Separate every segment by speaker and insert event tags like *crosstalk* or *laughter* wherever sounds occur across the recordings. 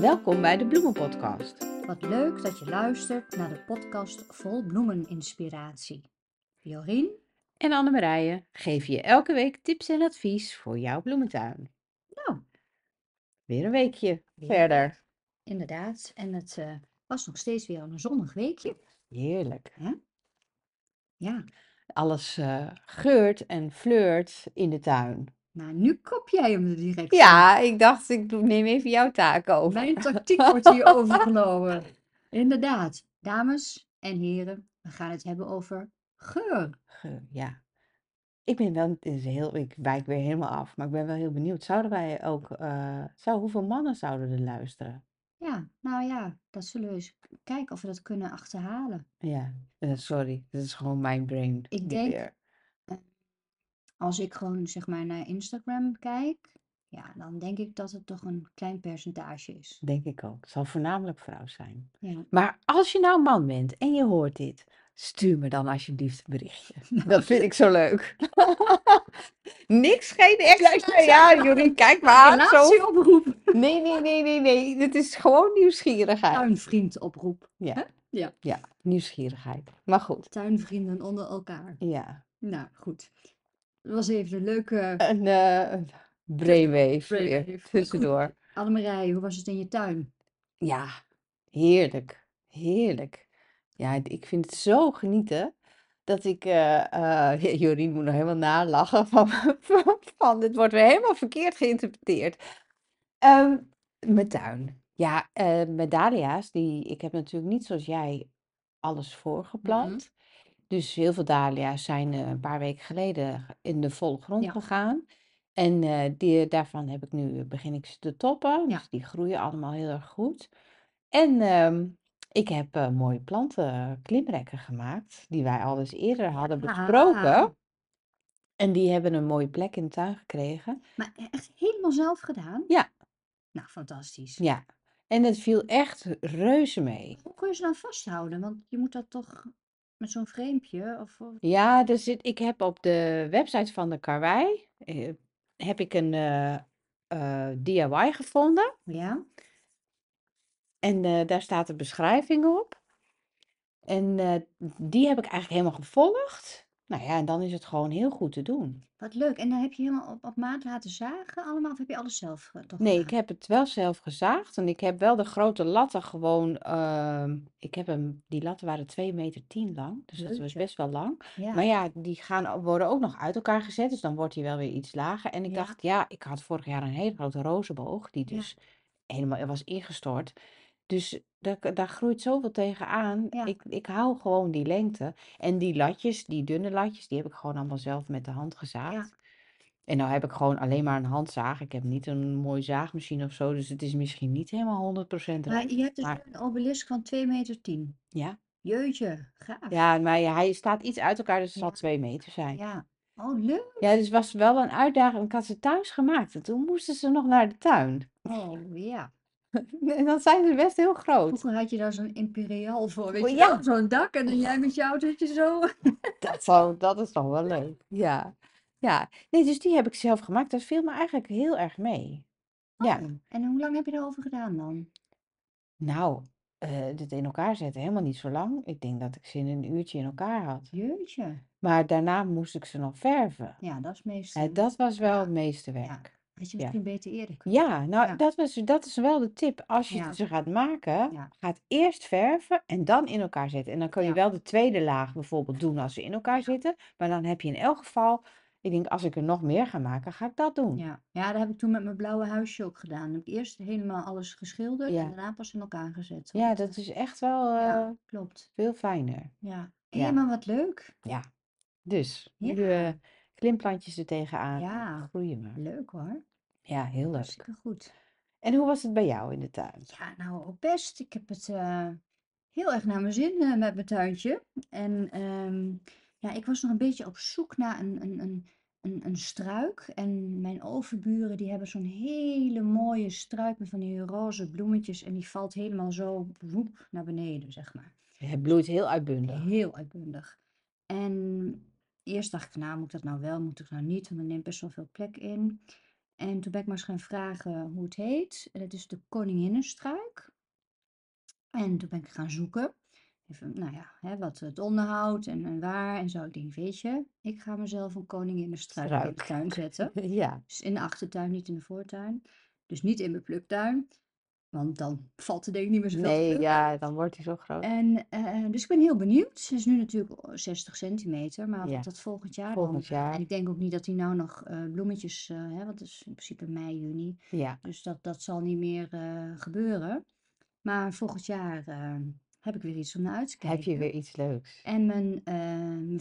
Speaker 1: Welkom bij de Bloemenpodcast.
Speaker 2: Wat leuk dat je luistert naar de podcast vol bloemeninspiratie. Jorien,
Speaker 1: En Annemarije geef je elke week tips en advies voor jouw bloementuin.
Speaker 2: Nou.
Speaker 1: Weer een weekje
Speaker 2: Weer.
Speaker 1: verder.
Speaker 2: inderdaad. En het eh, was nog steeds weer een zonnig weekje.
Speaker 1: Heerlijk.
Speaker 2: Ja,
Speaker 1: Alles eh, geurt en fleurt in de tuin.
Speaker 2: maar nu kop jij hem er direct
Speaker 1: Ja, ik dacht ik doe- neem even jouw taak
Speaker 2: in.
Speaker 1: over.
Speaker 2: Mijn tactiek wordt hier overgenomen. Inderdaad, dames en heren, we gaan het hebben over geur.
Speaker 1: Ge- Ja. Ik ben wel, het is heel, ik wijk weer helemaal af, maar ik ben wel heel benieuwd. Zouden wij ook, eh, zou, hoeveel mannen zouden er luisteren?
Speaker 2: Ja, nou ja, dat zullen we eens kijken of we dat kunnen achterhalen.
Speaker 1: Ja, eh, sorry, dit is gewoon mijn brain.
Speaker 2: Ik denk- Als ik gewoon zeg maar naar Instagram kijk, ja, dan denk ik dat het toch een klein percentage is.
Speaker 1: Denk ik ook. Het zal voornamelijk vrouw zijn.
Speaker 2: Ja.
Speaker 1: Maar als je nou man bent en je hoort dit, stuur me dan alsjeblieft een *laughs* berichtje. Dat vind ik zo *laughs* leuk. Niks, geen extra. Ja, Jorien, kijk maar aan. Zo. *laughs*
Speaker 2: Relatieoproep.
Speaker 1: Nee, nee, nee, nee, nee. Dit is gewoon nieuwsgierigheid.
Speaker 2: Tuinvriendoproep.
Speaker 1: Ja.
Speaker 2: Ja.
Speaker 1: ja, nieuwsgierigheid. Maar goed,
Speaker 2: Tuinvrienden onder elkaar.
Speaker 1: ja.
Speaker 2: Nou, goed. Dat was even een leuke...
Speaker 1: Een eh brainwave weer
Speaker 2: Brainwave. Goed.
Speaker 1: tussendoor.
Speaker 2: Annemarije, hoe was het in je tuin?
Speaker 1: Ja, heerlijk. Heerlijk. Ja, het- ik vind het zo genieten dat ik. eh, *laughs* eh, Jorien moet nog helemaal nalachen van, *laughs* van, van dit wordt weer helemaal verkeerd geïnterpreteerd. Ehm, mijn tuin. Ja, eh, mijn dahlia's, die, ik heb natuurlijk niet zoals jij alles
Speaker 2: Mm-hmm.
Speaker 1: voorgeplant. Dus heel veel dahlia's zijn eh, een paar weken geleden in de volle grond
Speaker 2: Ja.
Speaker 1: gegaan. En eh, die, daarvan heb ik nu, begin ik ze te toppen.
Speaker 2: Ja.
Speaker 1: Dus die groeien allemaal heel erg goed. En ehm, ik heb eh, mooie planten, klimrekken gemaakt, die wij al eens eerder hadden
Speaker 2: Ah,
Speaker 1: besproken. En die hebben een mooie plek in de tuin gekregen.
Speaker 2: maar e-, echt helemaal zelf gedaan?
Speaker 1: Ja.
Speaker 2: Nou, fantastisch.
Speaker 1: Ja, en het viel echt reuze mee.
Speaker 2: Hoe kun je ze nou vasthouden? Want je moet dat toch met zo'n vreempje of... of-
Speaker 1: Ja, er zit, ik heb op de website van de Karwei, eh, heb ik een eh, eh, DIY gevonden.
Speaker 2: Ja?
Speaker 1: En eh, daar staat een beschrijving op. En eh, die heb ik eigenlijk helemaal gevolgd. Nou ja, en dan is het gewoon heel goed te doen.
Speaker 2: Wat leuk. En dan heb je helemaal op, op maat laten zagen allemaal? Of heb je alles zelf eh, toch
Speaker 1: Nee, ik
Speaker 2: gedaan?
Speaker 1: heb het wel zelf gezaagd. En ik heb wel de grote latten gewoon. ehm, ik heb hem, die latten waren 2 meter 10 lang. Dus dat was
Speaker 2: Jeetje.
Speaker 1: best wel lang.
Speaker 2: Ja.
Speaker 1: Maar ja, die gaan, ook- worden ook nog uit elkaar gezet. Dus dan wordt hij wel weer iets lager. En ik
Speaker 2: Ja.
Speaker 1: dacht, ja, ik had vorig jaar een hele grote rozenboog. Die
Speaker 2: Ja.
Speaker 1: dus helemaal was ingestort. Dus daar, daar groeit zoveel tegenaan.
Speaker 2: Ja.
Speaker 1: Ik, ik hou gewoon die lengte. En die latjes, die dunne latjes, die heb ik gewoon allemaal zelf met de hand gezaagd. En nou heb ik gewoon alleen maar een handzaag. Ik heb niet een mooie zaagmachine of zo. Dus het is misschien niet helemaal 100%
Speaker 2: Maar
Speaker 1: rijk.
Speaker 2: je hebt dus
Speaker 1: Maar
Speaker 2: nu een obelisk van 2 meter 10.
Speaker 1: ja.
Speaker 2: Jeetje, gaaf.
Speaker 1: Ja, maar ja, hij staat iets uit elkaar, dus het
Speaker 2: Ja.
Speaker 1: zal 2 meter zijn.
Speaker 2: Ja. Oh, leuk.
Speaker 1: Ja, dus was wel een uitdaging. Ik had ze thuis gemaakt en toen moesten ze nog naar de tuin. *laughs*
Speaker 2: Oh, ja.
Speaker 1: En dan zijn ze best heel groot.
Speaker 2: Vroeger had je daar zo'n imperiaal voor, weet
Speaker 1: Oh,
Speaker 2: je
Speaker 1: ja.
Speaker 2: wel? Zo'n dak en dan jij met je autootje zo.
Speaker 1: *laughs* Dat, zou, dat is toch wel leuk. Ja. Ja. Nee, dus die heb ik zelf gemaakt. Dat viel me eigenlijk heel erg mee. *laughs* Ja.
Speaker 2: Oh, *laughs* En hoe lang heb je daarover gedaan dan?
Speaker 1: Nou, eh, dit in elkaar zetten, helemaal niet zo lang. Ik denk dat ik ze in een uurtje in elkaar had.
Speaker 2: Jeetje.
Speaker 1: Maar daarna moest ik ze nog verven.
Speaker 2: Ja, dat is meestal.
Speaker 1: Ja, dat was wel het meeste
Speaker 2: Ja.
Speaker 1: werk.
Speaker 2: Had je
Speaker 1: ja.
Speaker 2: misschien beter eerder kunnen.
Speaker 1: Ja, nou,
Speaker 2: Ja.
Speaker 1: Dat, was, dat is wel de tip. Als je
Speaker 2: Ja.
Speaker 1: ze gaat maken,
Speaker 2: Ja.
Speaker 1: gaat eerst verven en dan in elkaar zetten. En dan kun je
Speaker 2: Ja.
Speaker 1: wel de tweede laag bijvoorbeeld doen als ze in elkaar zitten. Maar dan heb je in elk geval, ik denk, als ik er nog meer ga maken, ga ik dat doen.
Speaker 2: Ja. ja, dat heb ik toen met mijn blauwe huisje ook gedaan. Dan heb ik eerst helemaal alles geschilderd
Speaker 1: Ja.
Speaker 2: en daarna pas in elkaar gezet.
Speaker 1: Ja,
Speaker 2: Want,
Speaker 1: dat
Speaker 2: eh,
Speaker 1: is echt wel
Speaker 2: ja,
Speaker 1: eh,
Speaker 2: klopt.
Speaker 1: veel fijner.
Speaker 2: Ja.
Speaker 1: Ja.
Speaker 2: Helemaal wat leuk.
Speaker 1: Dus
Speaker 2: Ja.
Speaker 1: nu eh, klimplantjes er tegenaan eh,
Speaker 2: Ja.
Speaker 1: groeien maar.
Speaker 2: Leuk hoor.
Speaker 1: Ja, heel leuk.
Speaker 2: Hartstikke goed.
Speaker 1: En hoe was het bij jou in de tuin?
Speaker 2: Ja, nou ook best. Ik heb het eh, heel erg naar mijn zin eh, met mijn tuintje. En ehm, ja, ik was nog een beetje op zoek naar een, een, een, een, een struik. En mijn overburen die hebben zo'n hele mooie struik met van die roze bloemetjes. En die valt helemaal zo woep, naar beneden, zeg maar.
Speaker 1: Het bloeit heel uitbundig.
Speaker 2: *laughs* Heel uitbundig. En eerst dacht ik, nou moet ik dat nou wel, moet ik nou niet? Want dat neemt best wel veel plek in. En toen ben ik maar eens gaan vragen hoe het heet. En dat is de koninginnenstruik. En toen ben ik gaan zoeken. Even, nou ja, hè, wat het onderhoud en, en waar en zo. Ik denk, weet je, ik ga mezelf een koninginnenstruik in de
Speaker 1: Struik.
Speaker 2: tuin zetten.
Speaker 1: *laughs* Ja,
Speaker 2: Dus in de achtertuin, niet in de voortuin. Dus niet in mijn pluktuin, want dan valt er denk ik niet meer zoveel te
Speaker 1: nee,
Speaker 2: plukken.
Speaker 1: ja, dan wordt hij zo groot.
Speaker 2: En, eh, dus ik ben heel benieuwd. Ze is nu natuurlijk o- 60 centimeter, maar wat
Speaker 1: Ja,
Speaker 2: dat volgend jaar dan.
Speaker 1: volgend
Speaker 2: eh, en
Speaker 1: jaar.
Speaker 2: ik denk ook niet dat hij nou nog eh, bloemetjes, eh, hè, want het is in principe mei, juni.
Speaker 1: Ja,
Speaker 2: Dus dat, dat zal niet meer eh, gebeuren. Maar volgend jaar eh, heb ik weer iets om naar uit te
Speaker 1: heb je
Speaker 2: kijken.
Speaker 1: weer iets leuks?
Speaker 2: En mijn, eh mijn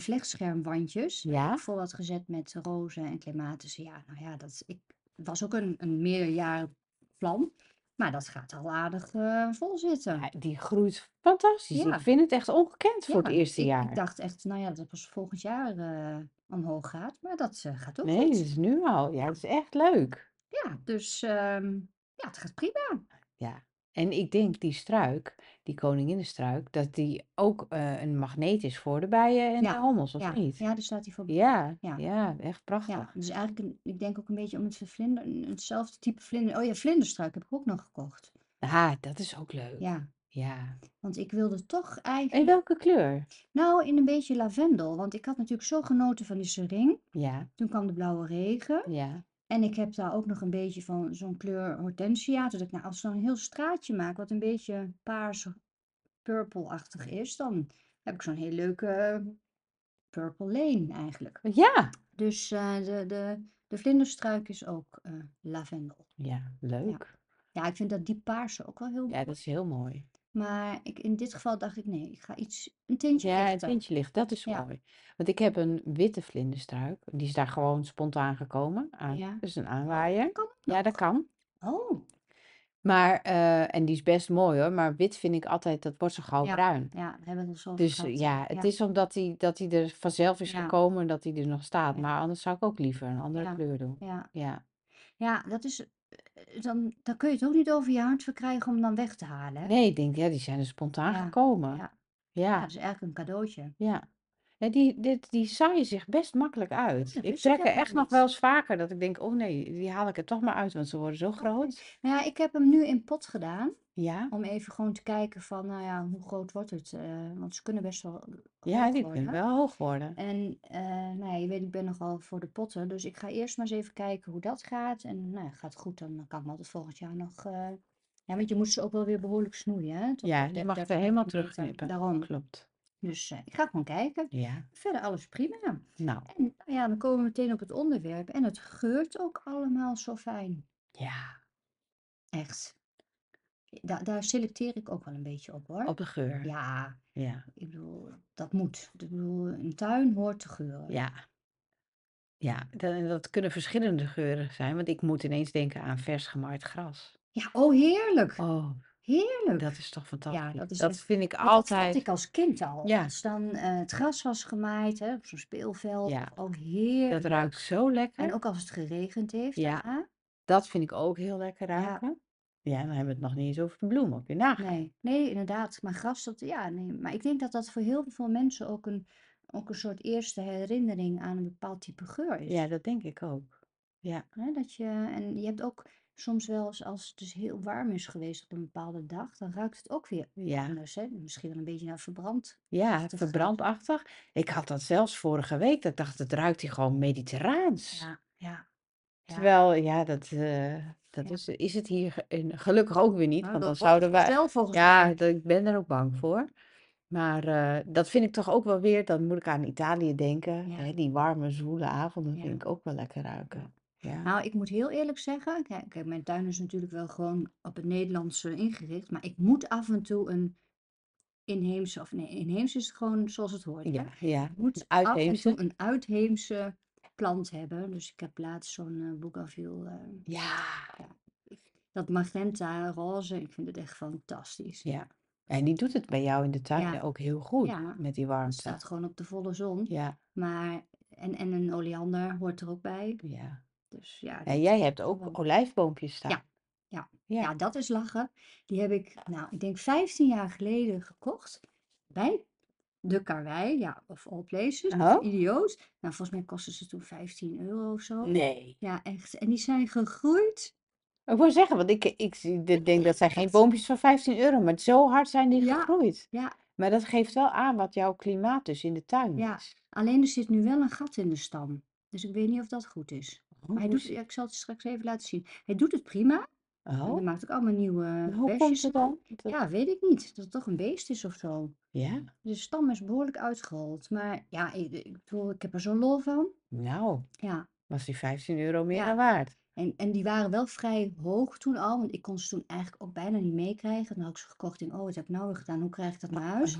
Speaker 2: vlechtschermwandjes heb ik
Speaker 1: Ja?
Speaker 2: vol had gezet met rozen en clematische. Ja, nou ja, dat ik, was ook een, een meerjarig plan. Maar dat gaat al aardig eh, vol zitten.
Speaker 1: Ja, nou, die groeit fantastisch. Ik
Speaker 2: Ja,
Speaker 1: vind het echt ongekend voor het
Speaker 2: ja.
Speaker 1: eerste
Speaker 2: Ik, ik
Speaker 1: jaar.
Speaker 2: dacht echt, nou ja, dat pas volgend jaar eh, omhoog gaat. Maar dat eh, gaat ook
Speaker 1: Nee, dit
Speaker 2: goed.
Speaker 1: is nu al. Ja,
Speaker 2: Ja,
Speaker 1: het is echt leuk.
Speaker 2: ja. Dus ehm, ja, het gaat prima.
Speaker 1: Ja. En ik denk die struik, die koninginnenstruik, dat die ook eh, een magneet is voor de bijen en de
Speaker 2: Ja,
Speaker 1: hommels, of
Speaker 2: ja,
Speaker 1: niet?
Speaker 2: ja, daar staat hij voor bekend.
Speaker 1: Ja,
Speaker 2: Ja,
Speaker 1: ja, echt
Speaker 2: ja.
Speaker 1: prachtig.
Speaker 2: Dus eigenlijk, een- ik denk ook een beetje om het vlinder, een- hetzelfde type vlinder. Oh ja, vlinderstruik heb ik ook nog gekocht.
Speaker 1: Ah, dat is ook leuk.
Speaker 2: Ja,
Speaker 1: Ja.
Speaker 2: want ik wilde toch
Speaker 1: En
Speaker 2: eigenlijk,
Speaker 1: welke kleur?
Speaker 2: nou, in een beetje lavendel. Want ik had natuurlijk zo genoten van die sering.
Speaker 1: Ja,
Speaker 2: Toen kwam de blauwe regen.
Speaker 1: ja.
Speaker 2: En ik heb daar ook nog een beetje van zo'n kleur hortensia. Dat ik nou, als ik zo'n heel straatje maak, wat een beetje paars-purple-achtig is, dan heb ik zo'n heel leuke eh, purple lane eigenlijk.
Speaker 1: Ja,
Speaker 2: Dus eh, de, de, de vlinderstruik is ook eh, lavendel.
Speaker 1: ja,
Speaker 2: Ja.
Speaker 1: leuk.
Speaker 2: ja, ik vind dat die paarse ook wel heel
Speaker 1: Ja, dat
Speaker 2: mooi.
Speaker 1: is heel mooi.
Speaker 2: Maar ik, in dit geval dacht ik, nee, ik ga iets, een tintje
Speaker 1: Ja, het
Speaker 2: lichter.
Speaker 1: tintje licht, dat is
Speaker 2: Ja,
Speaker 1: mooi. Want ik heb een witte vlinderstruik. Die is daar gewoon spontaan gekomen. Aan,
Speaker 2: ja.
Speaker 1: dat is een
Speaker 2: Oh, dat
Speaker 1: aanwaaier.
Speaker 2: kan ook
Speaker 1: Ja, dat
Speaker 2: nog.
Speaker 1: kan.
Speaker 2: Oh,
Speaker 1: Maar, eh, en die is best mooi hoor, maar wit vind ik altijd, dat wordt zo gauw
Speaker 2: ja,
Speaker 1: bruin.
Speaker 2: ja, daar hebben we het al zo over
Speaker 1: Dus eh,
Speaker 2: gehad.
Speaker 1: ja, het
Speaker 2: Ja,
Speaker 1: is omdat hij dat hij er vanzelf is
Speaker 2: ja,
Speaker 1: gekomen en dat hij er nog staat.
Speaker 2: ja,
Speaker 1: Maar anders zou ik ook liever een andere
Speaker 2: ja,
Speaker 1: kleur doen.
Speaker 2: ja.
Speaker 1: Ja,
Speaker 2: Ja, dat is, eh, dan, dan kun je het ook niet over je hart verkrijgen om hem dan weg te halen, hè?
Speaker 1: nee, ik denk, ja, die zijn er spontaan
Speaker 2: Ja,
Speaker 1: gekomen.
Speaker 2: ja. Ja,
Speaker 1: Ja,
Speaker 2: dat is eigenlijk een cadeautje.
Speaker 1: ja. Ja, die, dit, die zaaien zich best makkelijk
Speaker 2: Oh,
Speaker 1: uit.
Speaker 2: dat
Speaker 1: Ik
Speaker 2: wist ik
Speaker 1: trek er
Speaker 2: helemaal
Speaker 1: echt nog wel
Speaker 2: niet.
Speaker 1: eens vaker dat ik denk, oh nee, die haal ik er toch maar uit, want ze worden zo
Speaker 2: Oké.
Speaker 1: groot.
Speaker 2: Nou ja, ik heb hem nu in pot gedaan.
Speaker 1: Ja,
Speaker 2: Om even gewoon te kijken van, nou ja, hoe groot wordt het? eh, want ze kunnen best wel
Speaker 1: ja,
Speaker 2: hoog
Speaker 1: die kunnen
Speaker 2: worden.
Speaker 1: wel hoog worden.
Speaker 2: En eh, nou ja, je weet, ik ben nogal voor de potten. Dus ik ga eerst maar eens even kijken hoe dat gaat. En nou ja, gaat het goed, dan kan ik me altijd volgend jaar nog... eh, Ja, want je moet ze ook wel weer behoorlijk snoeien, hè? Tot
Speaker 1: Ja,
Speaker 2: eh,
Speaker 1: je
Speaker 2: der-
Speaker 1: mag het
Speaker 2: 30
Speaker 1: er helemaal
Speaker 2: centimeter.
Speaker 1: terugknippen.
Speaker 2: Daarom.
Speaker 1: Klopt.
Speaker 2: Dus eh, ik ga gewoon kijken.
Speaker 1: Ja,
Speaker 2: Verder alles prima. En
Speaker 1: nou,
Speaker 2: nou ja, dan komen we meteen op het onderwerp. En het geurt ook allemaal zo fijn.
Speaker 1: ja.
Speaker 2: Echt. Eh, Da- daar selecteer ik ook wel een beetje op hoor.
Speaker 1: Op de geur.
Speaker 2: Ja,
Speaker 1: Ja,
Speaker 2: ik bedoel, dat moet. Ik bedoel, een tuin hoort te geuren.
Speaker 1: ja, ja. Dat, dat kunnen verschillende geuren zijn, want ik moet ineens denken aan vers gemaaid gras.
Speaker 2: Ja, oh heerlijk.
Speaker 1: Oh, dat
Speaker 2: Heerlijk.
Speaker 1: is toch
Speaker 2: Ja,
Speaker 1: fantastisch.
Speaker 2: dat is
Speaker 1: Dat
Speaker 2: echt.
Speaker 1: vind ik
Speaker 2: Maar dat vond ik
Speaker 1: altijd.
Speaker 2: als kind al.
Speaker 1: Ja,
Speaker 2: Als dan eh, het gras was gemaaid, hè, op zo'n speelveld.
Speaker 1: ja.
Speaker 2: Oh,
Speaker 1: Dat ruikt
Speaker 2: heerlijk.
Speaker 1: zo
Speaker 2: En
Speaker 1: lekker.
Speaker 2: ook als het geregend heeft
Speaker 1: Ja,
Speaker 2: daarna.
Speaker 1: dat vind ik ook heel lekker
Speaker 2: Ja,
Speaker 1: ruiken. Ja, dan hebben we het nog niet eens over de bloemen. Kun je nagaan.
Speaker 2: nee. Nee, inderdaad. Maar gras, dat, ja, nee. Maar ik denk dat dat voor heel veel mensen ook een, ook een soort eerste herinnering aan een bepaald type geur
Speaker 1: Ja,
Speaker 2: is.
Speaker 1: dat denk ik ook. Ja,
Speaker 2: Hè, dat je, en je hebt ook soms wel eens, als het dus heel warm is geweest op een bepaalde dag, dan ruikt het ook weer
Speaker 1: ja.
Speaker 2: anders. Hè? Misschien wel een beetje naar verbrand
Speaker 1: Ja,
Speaker 2: achtige.
Speaker 1: verbrandachtig. Ik had dat zelfs vorige week. Dat ik dacht, het ruikt hier gewoon mediterraans.
Speaker 2: Ja, ja, ja,
Speaker 1: Terwijl, ja, dat, eh, dat
Speaker 2: ja.
Speaker 1: is, is het hier ge- en gelukkig ook weer niet,
Speaker 2: Nou,
Speaker 1: want dan
Speaker 2: dat wordt
Speaker 1: zouden
Speaker 2: het
Speaker 1: wij,
Speaker 2: wel volgens
Speaker 1: eh, ja,
Speaker 2: mij.
Speaker 1: dat, ik ben er ook bang voor. Maar eh, dat vind ik toch ook wel weer, dan moet ik aan Italië denken.
Speaker 2: Ja,
Speaker 1: Hè, die warme, zwoele avonden vind
Speaker 2: ja,
Speaker 1: ik ook wel lekker
Speaker 2: ja.
Speaker 1: ruiken. Ja,
Speaker 2: Nou, ik moet heel eerlijk zeggen, kijk, kijk, mijn tuin is natuurlijk wel gewoon op het Nederlandse ingericht, maar ik moet af en toe een inheemse, of nee, inheems is het gewoon zoals het hoort, hè?
Speaker 1: ja, ja.
Speaker 2: Ik moet af en toe
Speaker 1: Uitheemse.
Speaker 2: een uitheemse plant hebben. Dus ik heb laatst zo'n eh bougainville, eh,
Speaker 1: Ja,
Speaker 2: ja, ik- dat magenta, roze, ik vind het echt fantastisch.
Speaker 1: ja. En die doet het bij jou in de tuin
Speaker 2: Ja,
Speaker 1: ook heel goed
Speaker 2: ja,
Speaker 1: met die
Speaker 2: dat
Speaker 1: warmte.
Speaker 2: staat gewoon op de volle zon.
Speaker 1: Ja,
Speaker 2: Maar, en, en een oleander hoort er ook bij.
Speaker 1: ja.
Speaker 2: Dus ja,
Speaker 1: En
Speaker 2: dat
Speaker 1: jij
Speaker 2: is
Speaker 1: hebt
Speaker 2: toch
Speaker 1: ook
Speaker 2: wel...
Speaker 1: olijfboompjes staan.
Speaker 2: Ja, ja,
Speaker 1: Ja,
Speaker 2: ja, dat is lachen. Die heb ik, nou, ik denk 15 jaar geleden gekocht. Bij. de karwei, ja, of all places, dus
Speaker 1: Oh?
Speaker 2: idioot. Nou, volgens mij kostte ze toen 15 euro of zo.
Speaker 1: Nee.
Speaker 2: Ja, echt. En die zijn gegroeid.
Speaker 1: Ik wil zeggen, want ik, ik zie- de- denk dat zijn geen
Speaker 2: Echt.
Speaker 1: boompjes van 15 euro, maar zo hard zijn die
Speaker 2: Ja,
Speaker 1: gegroeid.
Speaker 2: ja,
Speaker 1: Maar dat geeft wel aan wat jouw klimaat dus in de tuin
Speaker 2: ja.
Speaker 1: is.
Speaker 2: Alleen er zit nu wel een gat in de stam. Dus ik weet niet of dat goed is.
Speaker 1: Oh,
Speaker 2: Maar hij
Speaker 1: hoe
Speaker 2: doet,
Speaker 1: is-
Speaker 2: ja, ik zal het je straks even laten zien. Hij doet het prima. En hij
Speaker 1: oh,
Speaker 2: maakt ook allemaal nieuwe
Speaker 1: en hoe komt
Speaker 2: besjes
Speaker 1: het
Speaker 2: aan.
Speaker 1: dan? Dat,
Speaker 2: Ja, weet ik niet. Dat het toch een beest is of zo.
Speaker 1: ja,
Speaker 2: De stam is behoorlijk uitgehold. Maar ja, ik, ik bedoel, ik heb er zo'n lol van.
Speaker 1: nou,
Speaker 2: Ja,
Speaker 1: was die 15 euro meer
Speaker 2: ja.
Speaker 1: dan waard?
Speaker 2: En, en die waren wel vrij hoog toen al, want ik kon ze toen eigenlijk ook bijna niet meekrijgen. Dan had ik ze gekocht en oh, wat heb ik nou weer gedaan? Hoe krijg ik dat naar
Speaker 1: *laughs*
Speaker 2: huis?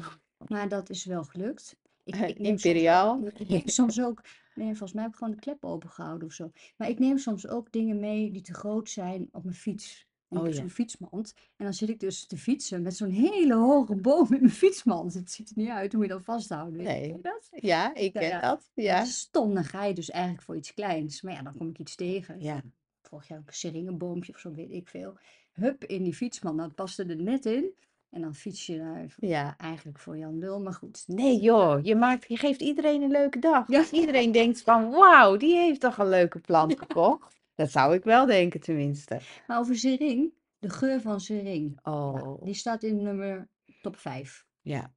Speaker 2: Maar dat is wel gelukt. Ik, ik neem soms,
Speaker 1: Imperiaal.
Speaker 2: ik neem soms ook, nee, volgens mij heb ik gewoon de klep opengehouden of zo. Maar ik neem soms ook dingen mee die te groot zijn op mijn fiets. En ik
Speaker 1: Oh
Speaker 2: heb
Speaker 1: ja.
Speaker 2: zo'n fietsmand. En dan zit ik dus te fietsen met zo'n hele hoge boom in mijn fietsmand. Het ziet er niet uit hoe je dat vasthoudt. Weet je ken
Speaker 1: Nee.
Speaker 2: je dat?
Speaker 1: Ja, ik
Speaker 2: Nou
Speaker 1: ken
Speaker 2: ja,
Speaker 1: dat.
Speaker 2: dat
Speaker 1: Ja.
Speaker 2: is stom. Dan ga je dus eigenlijk voor iets kleins. Maar ja, dan kom ik iets tegen.
Speaker 1: Ja.
Speaker 2: Vorig jaar ook een seringenboompje of zo, weet ik veel. Hup, in die fietsmand. Dat paste er net in. En dan fiets je naar, ja,
Speaker 1: Ja.
Speaker 2: eigenlijk voor Jan Lul, maar goed.
Speaker 1: Nee
Speaker 2: Ja.
Speaker 1: joh, je maakt, je geeft iedereen een leuke dag.
Speaker 2: Ja,
Speaker 1: Iedereen denkt van, wauw, die heeft toch een leuke plant gekocht? Dat zou ik wel denken tenminste.
Speaker 2: maar over sering, de geur van sering. Ja,
Speaker 1: Oh,
Speaker 2: die staat in nummer top 5.
Speaker 1: ja,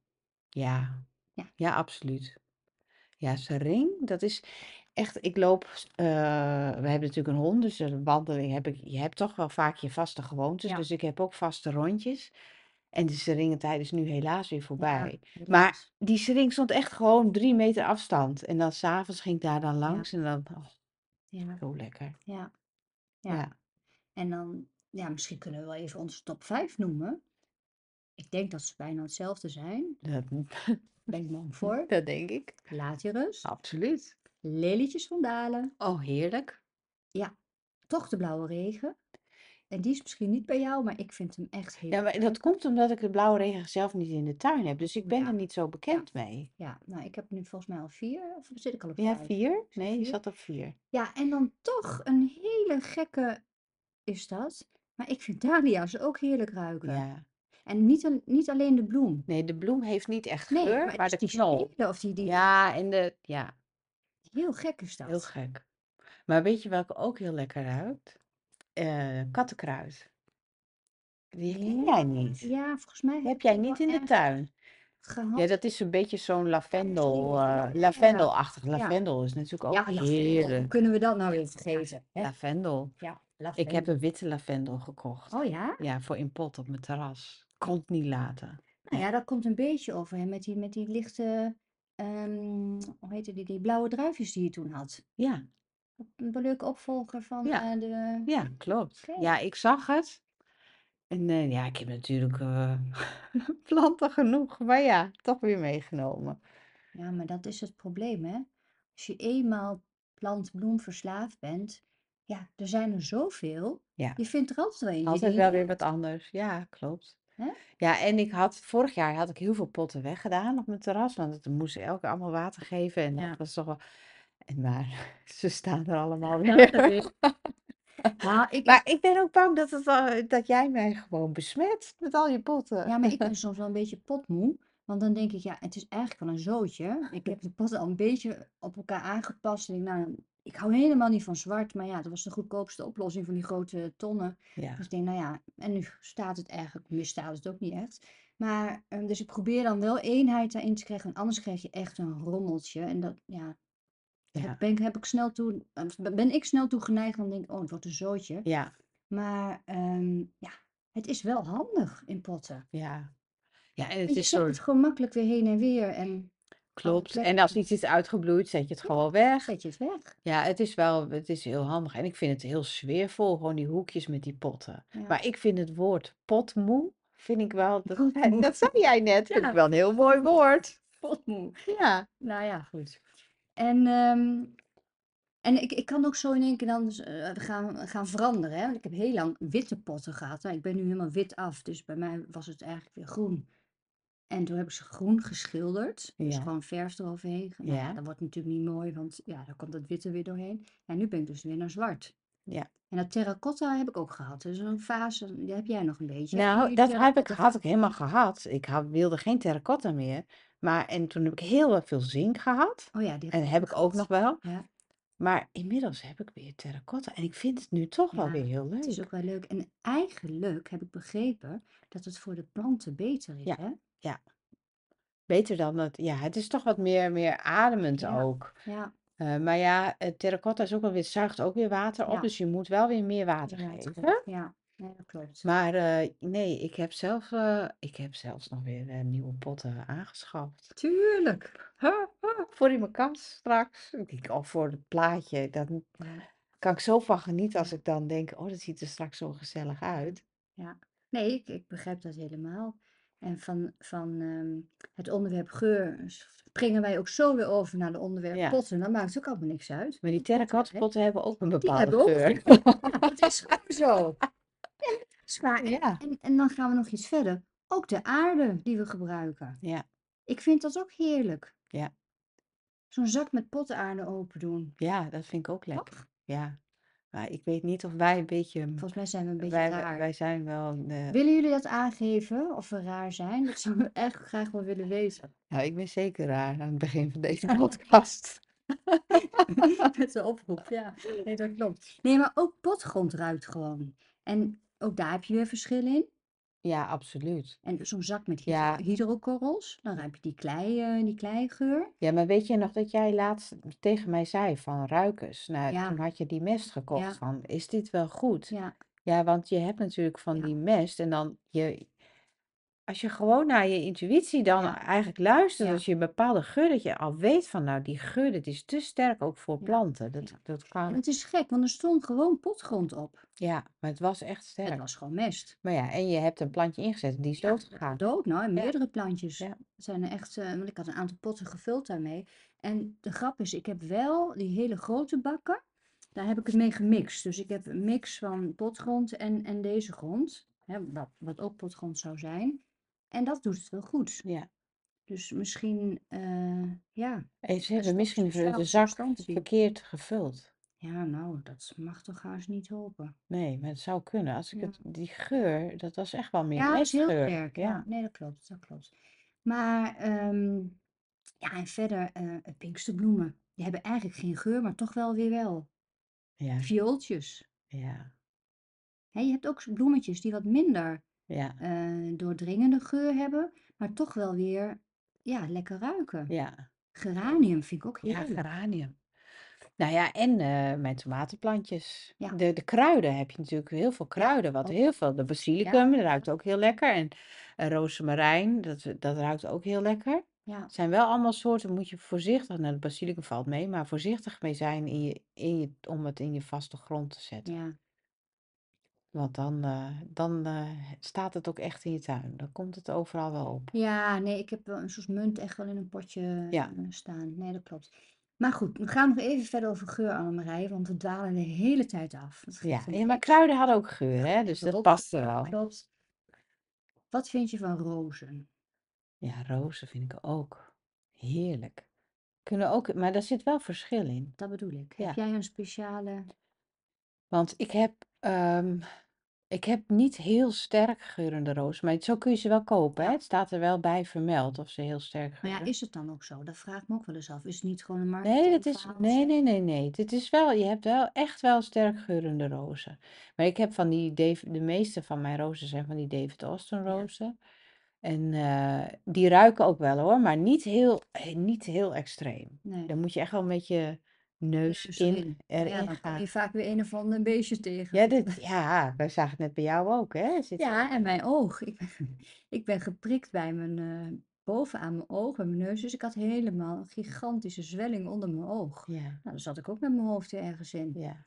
Speaker 1: ja,
Speaker 2: Ja,
Speaker 1: ja, absoluut. Ja, sering, dat is echt, ik loop, eh, we hebben natuurlijk een hond, dus een wandeling heb ik, je hebt toch wel vaak je vaste gewoontes,
Speaker 2: ja,
Speaker 1: dus ik heb ook vaste rondjes. En de seringentijd is nu helaas weer
Speaker 2: ja,
Speaker 1: voorbij. Maar
Speaker 2: helaas.
Speaker 1: die sering stond echt gewoon drie meter afstand. En dan s'avonds ging ik daar dan
Speaker 2: Ja,
Speaker 1: langs en dan, oh,
Speaker 2: ja,
Speaker 1: zo lekker.
Speaker 2: ja, ja.
Speaker 1: Ja.
Speaker 2: En dan, ja, misschien kunnen we wel even onze top 5 noemen. Ik denk dat ze bijna hetzelfde zijn.
Speaker 1: Dat,
Speaker 2: Ben ik bang voor.
Speaker 1: *laughs* dat denk ik.
Speaker 2: Platyrus,
Speaker 1: Oh. Absoluut.
Speaker 2: lelietjes van Dalen.
Speaker 1: Oh, heerlijk.
Speaker 2: Ja, toch de blauwe regen. En die is misschien niet bij jou, maar ik vind hem echt
Speaker 1: Ja,
Speaker 2: heel
Speaker 1: maar dat
Speaker 2: leuk.
Speaker 1: komt omdat ik de blauwe regen zelf niet in de tuin heb. Dus ik ben er
Speaker 2: Ja,
Speaker 1: niet zo
Speaker 2: ja,
Speaker 1: bekend mee.
Speaker 2: ja. Nou, ik heb nu volgens mij al vier, of zit ik al op
Speaker 1: Ja,
Speaker 2: vijf?
Speaker 1: vier?
Speaker 2: Is dat
Speaker 1: Nee, je
Speaker 2: vier?
Speaker 1: zat op vier.
Speaker 2: Ja, en dan toch een hele gekke is dat. Maar ik vind dahlia's ook heerlijk ruiken.
Speaker 1: Ja.
Speaker 2: En niet, al- niet alleen de bloem.
Speaker 1: Nee, de bloem heeft niet echt
Speaker 2: Nee,
Speaker 1: geur,
Speaker 2: maar
Speaker 1: maar
Speaker 2: dus
Speaker 1: de
Speaker 2: die
Speaker 1: knol.
Speaker 2: stelen of die, die,
Speaker 1: Ja, en de... Ja,
Speaker 2: heel gek is
Speaker 1: heel
Speaker 2: dat.
Speaker 1: gek. Maar weet je welke ook heel lekker ruikt? Eh, kattenkruid. Die ken
Speaker 2: Ja,
Speaker 1: jij niet.
Speaker 2: ja, volgens mij
Speaker 1: Die
Speaker 2: heb
Speaker 1: heb
Speaker 2: ik
Speaker 1: jij
Speaker 2: die wel
Speaker 1: niet in de
Speaker 2: ergens
Speaker 1: tuin. Ja,
Speaker 2: gehad.
Speaker 1: dat is een beetje zo'n
Speaker 2: Misschien
Speaker 1: lavendel,
Speaker 2: of zo.
Speaker 1: eh
Speaker 2: Ja, ja,
Speaker 1: lavendelachtig.
Speaker 2: ja.
Speaker 1: Lavendel is natuurlijk ook
Speaker 2: Ja, lavendel. Hoe
Speaker 1: heerlijk.
Speaker 2: kunnen we dat nou weer vergeten? Hè?
Speaker 1: Lavendel.
Speaker 2: Ja,
Speaker 1: Ik heb
Speaker 2: lavendel.
Speaker 1: een witte lavendel gekocht.
Speaker 2: Oh ja?
Speaker 1: Ja, voor in pot op mijn terras. Kon het niet laten.
Speaker 2: Nou
Speaker 1: Nee.
Speaker 2: ja, dat komt een beetje over hè, met die, met die lichte, ehm, hoe heette die, die blauwe druifjes die je toen had.
Speaker 1: Ja,
Speaker 2: Een leuke opvolger van
Speaker 1: ja,
Speaker 2: eh, de...
Speaker 1: ja, klopt.
Speaker 2: Oké.
Speaker 1: Ja, ik zag het. En eh, ja, ik heb natuurlijk eh, *laughs* planten genoeg. Maar ja, toch weer meegenomen.
Speaker 2: Ja, maar dat is het probleem, hè? Als je eenmaal plant-bloem verslaafd bent, ja, er zijn er zoveel.
Speaker 1: Ja,
Speaker 2: Je vindt er altijd wel eentje
Speaker 1: altijd
Speaker 2: die je
Speaker 1: wel weer wat
Speaker 2: ruikt,
Speaker 1: anders. Ja, klopt.
Speaker 2: hè?
Speaker 1: Ja, en ik had vorig jaar had ik heel veel potten weggedaan op mijn terras, want het moest elke keer allemaal water geven en dat
Speaker 2: Ja,
Speaker 1: was toch wel. *laughs* En maar *laughs* ze staan er
Speaker 2: *laughs*
Speaker 1: allemaal
Speaker 2: ja, dat
Speaker 1: weer.
Speaker 2: is.
Speaker 1: *laughs*
Speaker 2: Nou, ik,
Speaker 1: Maar ik ben ook bang dat, het, al- dat jij mij gewoon besmet met al je potten. *laughs*
Speaker 2: Ja, maar ik ben soms wel een beetje potmoe. Want dan denk ik, ja, het is eigenlijk wel een zootje. Ik heb de potten al een beetje op elkaar aangepast. En ik, nou, ik hou helemaal niet van zwart. Maar ja, dat was de goedkoopste oplossing van die grote tonnen. Dus
Speaker 1: Ja,
Speaker 2: ik denk, nou ja, en nu staat het eigenlijk, nu staat het ook niet echt. Maar, ehm, dus ik probeer dan wel eenheid daarin te krijgen. Want anders krijg je echt een rommeltje. En dat, ja, heb,
Speaker 1: ja,
Speaker 2: ben, ik- heb ik snel toe, eh, ben ik snel toe geneigd. Dan denk ik, oh, het wordt een zootje.
Speaker 1: ja,
Speaker 2: Maar, ehm, ja, het is wel handig in potten.
Speaker 1: ja. Ja, en het
Speaker 2: Want je
Speaker 1: is
Speaker 2: zet
Speaker 1: zo,
Speaker 2: het gewoon makkelijk weer heen en weer en alle
Speaker 1: klopt. En als
Speaker 2: plekken.
Speaker 1: iets is uitgebloeid, zet je het
Speaker 2: Ja,
Speaker 1: gewoon weg.
Speaker 2: zet je het weg.
Speaker 1: Ja, het is wel, het is heel handig. En ik vind het heel sfeervol, gewoon die hoekjes met die potten.
Speaker 2: Ja, *laughs*
Speaker 1: Maar ik vind het woord potmoe, vind ik wel, dat,
Speaker 2: potmoe.
Speaker 1: dat zei jij net, vind ik
Speaker 2: *laughs* Ja,
Speaker 1: wel een heel mooi woord.
Speaker 2: potmoe.
Speaker 1: Ja.
Speaker 2: Nou ja, goed. En, ehm, en ik, ik kan ook zo in één keer dan dus, eh, gaan, gaan veranderen. Hè? Want ik heb heel lang witte potten gehad. Nou, ik ben nu helemaal wit af, dus bij mij was het eigenlijk weer groen. En toen heb ik ze groen geschilderd. Dus
Speaker 1: Ja,
Speaker 2: gewoon verf eroverheen. Nou ja,
Speaker 1: ja,
Speaker 2: dat wordt natuurlijk niet mooi, want ja, daar komt dat witte weer doorheen. En nu ben ik dus weer naar zwart.
Speaker 1: ja.
Speaker 2: En dat terracotta heb ik ook gehad. Dus een fase, die heb jij nog een beetje. Heb je
Speaker 1: Nou,
Speaker 2: nu
Speaker 1: dat heb ik,
Speaker 2: terracotta
Speaker 1: had ik
Speaker 2: fase?
Speaker 1: helemaal gehad. Ik had, wilde geen terracotta meer. Maar en toen heb ik heel wel veel zink gehad.
Speaker 2: Oh ja, die
Speaker 1: En
Speaker 2: had ik
Speaker 1: heb
Speaker 2: ook
Speaker 1: ik ook nog
Speaker 2: gehad.
Speaker 1: wel.
Speaker 2: Ja,
Speaker 1: Maar inmiddels heb ik weer terracotta. En ik vind het nu toch wel weer
Speaker 2: ja,
Speaker 1: heel
Speaker 2: het is ook
Speaker 1: leuk.
Speaker 2: wel leuk. En eigenlijk heb ik begrepen dat het voor de planten beter is,
Speaker 1: Ja,
Speaker 2: hè?
Speaker 1: ja. Beter dan dat. Ja, het is toch wat meer, meer ademend
Speaker 2: Ja,
Speaker 1: ook.
Speaker 2: ja,
Speaker 1: Eh, maar ja, eh, terracotta is ook wel weer, zuigt ook weer water op.
Speaker 2: ja,
Speaker 1: Dus je moet wel weer meer water
Speaker 2: water
Speaker 1: geven.
Speaker 2: geven. Ja, nee, dat klopt.
Speaker 1: Maar eh, nee, ik heb zelf, eh, ik heb zelfs nog weer eh, nieuwe potten aangeschaft.
Speaker 2: Tuurlijk. Oh.
Speaker 1: Voor in mijn kast straks. Ik denk, oh, voor het plaatje. Daar
Speaker 2: Ja,
Speaker 1: kan ik zo van genieten als
Speaker 2: ja,
Speaker 1: ik dan denk, oh, dat ziet er straks zo gezellig
Speaker 2: ja,
Speaker 1: uit.
Speaker 2: ja. Nee, ik, ik begrijp dat helemaal. En van, van ehm, het onderwerp geur springen wij ook zo weer over naar het onderwerp
Speaker 1: Ja,
Speaker 2: potten. Dat maakt ook allemaal niks uit.
Speaker 1: maar die
Speaker 2: Die potten,
Speaker 1: terracotta
Speaker 2: hè?
Speaker 1: potten hebben ook een
Speaker 2: Die
Speaker 1: bepaalde
Speaker 2: hebben ook
Speaker 1: geur.
Speaker 2: geur. *laughs* Ja, *laughs* dat is gewoon zo. Zwaar. En,
Speaker 1: Ja,
Speaker 2: en, en dan gaan we nog iets verder. Ook de aarde die we gebruiken.
Speaker 1: ja,
Speaker 2: Ik vind dat ook heerlijk.
Speaker 1: ja,
Speaker 2: Zo'n zak met potaarde open doen.
Speaker 1: ja, dat vind
Speaker 2: Oh.
Speaker 1: ik ook lekker.
Speaker 2: Toch?
Speaker 1: Ja, maar ik weet niet of wij een beetje, mm,
Speaker 2: Volgens mij zijn we een beetje
Speaker 1: wij,
Speaker 2: raar.
Speaker 1: wij zijn wel, eh,
Speaker 2: Willen jullie dat aangeven of we raar zijn? Dat zouden we *laughs* echt graag wel willen
Speaker 1: *laughs*
Speaker 2: weten.
Speaker 1: nou, ik ben zeker raar aan het begin
Speaker 2: *laughs*
Speaker 1: van deze podcast.
Speaker 2: Met de oproep, ja. Nee, dat klopt. Nee, maar ook potgrond ruikt gewoon. En ook daar heb je weer verschil in.
Speaker 1: Ja, absoluut.
Speaker 2: En zo'n zak met hydro-
Speaker 1: Ja,
Speaker 2: hydrokorrels, dan ruik je die klei, eh, die kleigeur.
Speaker 1: ja, maar weet je nog dat jij laatst tegen mij zei van ruikers? Nou, toen
Speaker 2: Ja,
Speaker 1: had je die mest gekocht
Speaker 2: ja,
Speaker 1: van, is dit wel goed?
Speaker 2: ja,
Speaker 1: Ja, want je hebt natuurlijk van
Speaker 2: ja,
Speaker 1: die mest en dan je, als je gewoon naar je intuïtie dan
Speaker 2: ja,
Speaker 1: eigenlijk luistert,
Speaker 2: ja,
Speaker 1: als je een bepaalde geur dat je al weet van, nou, die geur, dat is te sterk ook voor
Speaker 2: ja,
Speaker 1: planten. Dat,
Speaker 2: ja.
Speaker 1: dat
Speaker 2: En
Speaker 1: kan,
Speaker 2: het is gek, want er stond gewoon potgrond op.
Speaker 1: ja, maar het was echt
Speaker 2: Het
Speaker 1: sterk.
Speaker 2: was gewoon mest.
Speaker 1: Maar ja, en je hebt een plantje ingezet en die is
Speaker 2: Ja,
Speaker 1: dood
Speaker 2: dat was
Speaker 1: gegaan.
Speaker 2: dood. Nou, en
Speaker 1: Ja,
Speaker 2: meerdere plantjes.
Speaker 1: ja,
Speaker 2: Het zijn er echt, eh, want ik had een aantal potten gevuld daarmee. En de grap is, ik heb wel die hele grote bakken, daar heb ik het mee gemixt. Dus ik heb een mix van potgrond en, en deze grond, hè, wat, wat ook potgrond zou zijn. En dat doet het wel goed.
Speaker 1: ja.
Speaker 2: Dus misschien, eh, ja,
Speaker 1: En ze hebben
Speaker 2: er is dus toch
Speaker 1: misschien ver-
Speaker 2: sociale
Speaker 1: de zak
Speaker 2: substantie.
Speaker 1: verkeerd gevuld.
Speaker 2: Ja, nou, dat mag toch haast niet helpen.
Speaker 1: Nee, maar het zou kunnen. Als ik
Speaker 2: Ja.
Speaker 1: het, die geur, dat was echt wel meer
Speaker 2: Ja, het is heel
Speaker 1: mestgeur.
Speaker 2: sterk. Ja,
Speaker 1: Ja,
Speaker 2: nee, dat klopt, dat klopt. Maar ehm, ja, en verder eh pinksterbloemen. Die hebben eigenlijk geen geur, maar toch wel weer wel.
Speaker 1: ja,
Speaker 2: Viooltjes.
Speaker 1: ja,
Speaker 2: Hè, je hebt ook bloemetjes die wat minder
Speaker 1: ja,
Speaker 2: eh, doordringende geur hebben, maar toch wel weer ja, lekker ruiken.
Speaker 1: ja.
Speaker 2: Geranium vind ik ook
Speaker 1: Ja,
Speaker 2: heerlijk.
Speaker 1: geranium. Nou ja, en eh, mijn tomatenplantjes.
Speaker 2: Ja,
Speaker 1: De, de kruiden heb je natuurlijk heel veel
Speaker 2: ja,
Speaker 1: kruiden. Wat
Speaker 2: ook.
Speaker 1: heel veel. De
Speaker 2: Ja,
Speaker 1: basilicum, dat ruikt ook heel lekker. En eh, rozemarijn, dat, dat ruikt ook heel lekker.
Speaker 2: ja,
Speaker 1: Het zijn wel allemaal soorten, moet je voorzichtig, nou, de basilicum valt mee, maar voorzichtig mee zijn in je, in je, om het in je vaste grond te zetten.
Speaker 2: ja.
Speaker 1: Want dan, eh, dan eh, staat het ook echt in je tuin. Dan komt het overal wel op.
Speaker 2: Ja, nee, ik heb wel een soort munt echt wel in een potje
Speaker 1: Ja,
Speaker 2: eh, staan. Nee, dat klopt. Maar goed, we gaan nog even verder over geur, Annemarije, want we dwalen de hele tijd af. Dat
Speaker 1: ja.
Speaker 2: geeft
Speaker 1: ja,
Speaker 2: helemaal
Speaker 1: maar
Speaker 2: niks.
Speaker 1: kruiden hadden ook geur, hè?
Speaker 2: En
Speaker 1: Dus dat
Speaker 2: rozen,
Speaker 1: paste wel.
Speaker 2: klopt. Wat vind je van rozen?
Speaker 1: Ja, rozen vind ik ook heerlijk. Kunnen ook, maar daar zit wel verschil in.
Speaker 2: Dat bedoel ik. Heb
Speaker 1: Ja,
Speaker 2: jij een speciale...
Speaker 1: want ik heb, ehm, ik heb niet heel sterk geurende rozen, maar zo kun je ze wel kopen, hè?
Speaker 2: Ja,
Speaker 1: Het staat er wel bij vermeld of ze heel sterk
Speaker 2: maar ja,
Speaker 1: geuren.
Speaker 2: is het dan ook zo? Dat vraag ik me ook wel eens af. Is het niet gewoon
Speaker 1: Nee,
Speaker 2: een
Speaker 1: dat is. Nee,
Speaker 2: marketingverhaaltje?
Speaker 1: nee, nee, nee. Dit is wel. Je hebt wel echt wel sterk geurende rozen. Maar ik heb van die. Dave- De meeste van mijn rozen zijn van die David Austin
Speaker 2: Ja,
Speaker 1: rozen. En eh, die ruiken ook wel hoor. Maar niet heel, eh, niet heel extreem.
Speaker 2: nee.
Speaker 1: Dan moet je echt wel met je neus
Speaker 2: Neus
Speaker 1: in,
Speaker 2: erin. Ja,
Speaker 1: erin
Speaker 2: dan kom
Speaker 1: gaan.
Speaker 2: je vaak weer een of ander beestje tegen.
Speaker 1: Ja, dit, ja, wij zagen het net bij jou ook, hè? Zit,
Speaker 2: Ja, en mijn oog. Ik ben, *laughs* ik ben geprikt bij mijn, eh bovenaan mijn oog, bij mijn neus. Dus ik had helemaal een gigantische zwelling onder mijn oog.
Speaker 1: ja,
Speaker 2: Nou, daar zat ik ook met mijn hoofd ergens in.
Speaker 1: ja,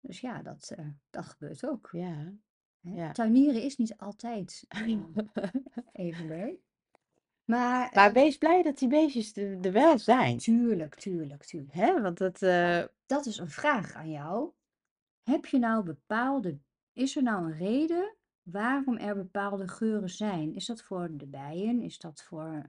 Speaker 2: Dus ja, dat, eh, dat gebeurt ook. *laughs*
Speaker 1: ja,
Speaker 2: Hè?
Speaker 1: ja.
Speaker 2: Tuinieren is niet altijd eh, even leuk. Maar
Speaker 1: Maar
Speaker 2: eh,
Speaker 1: wees blij dat die beestjes er er wel zijn.
Speaker 2: tuurlijk, tuurlijk, tuurlijk.
Speaker 1: Hè? Want dat. eh,
Speaker 2: Maar dat is een vraag aan jou. Heb je nou bepaalde, is er nou een reden waarom er bepaalde geuren zijn? Is dat voor de bijen? Is dat voor,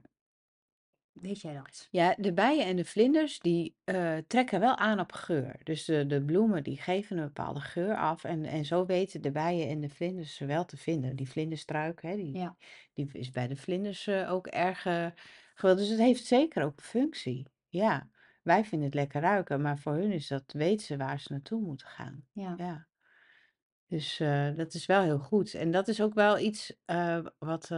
Speaker 2: weet jij dat?
Speaker 1: Ja, de bijen en de vlinders die eh, trekken wel aan op geur. Dus de, de bloemen die geven een bepaalde geur af. En, en zo weten de bijen en de vlinders ze wel te vinden. Die vlinderstruik, hè, die,
Speaker 2: Ja,
Speaker 1: die is bij de vlinders eh, ook erg. geweldig. Dus het heeft zeker ook een functie. Ja, wij vinden het lekker ruiken, maar voor hun is dat, weten ze waar ze naartoe moeten gaan.
Speaker 2: Ja,
Speaker 1: Ja, dus eh, dat is wel heel goed. En dat is ook wel iets eh, wat, eh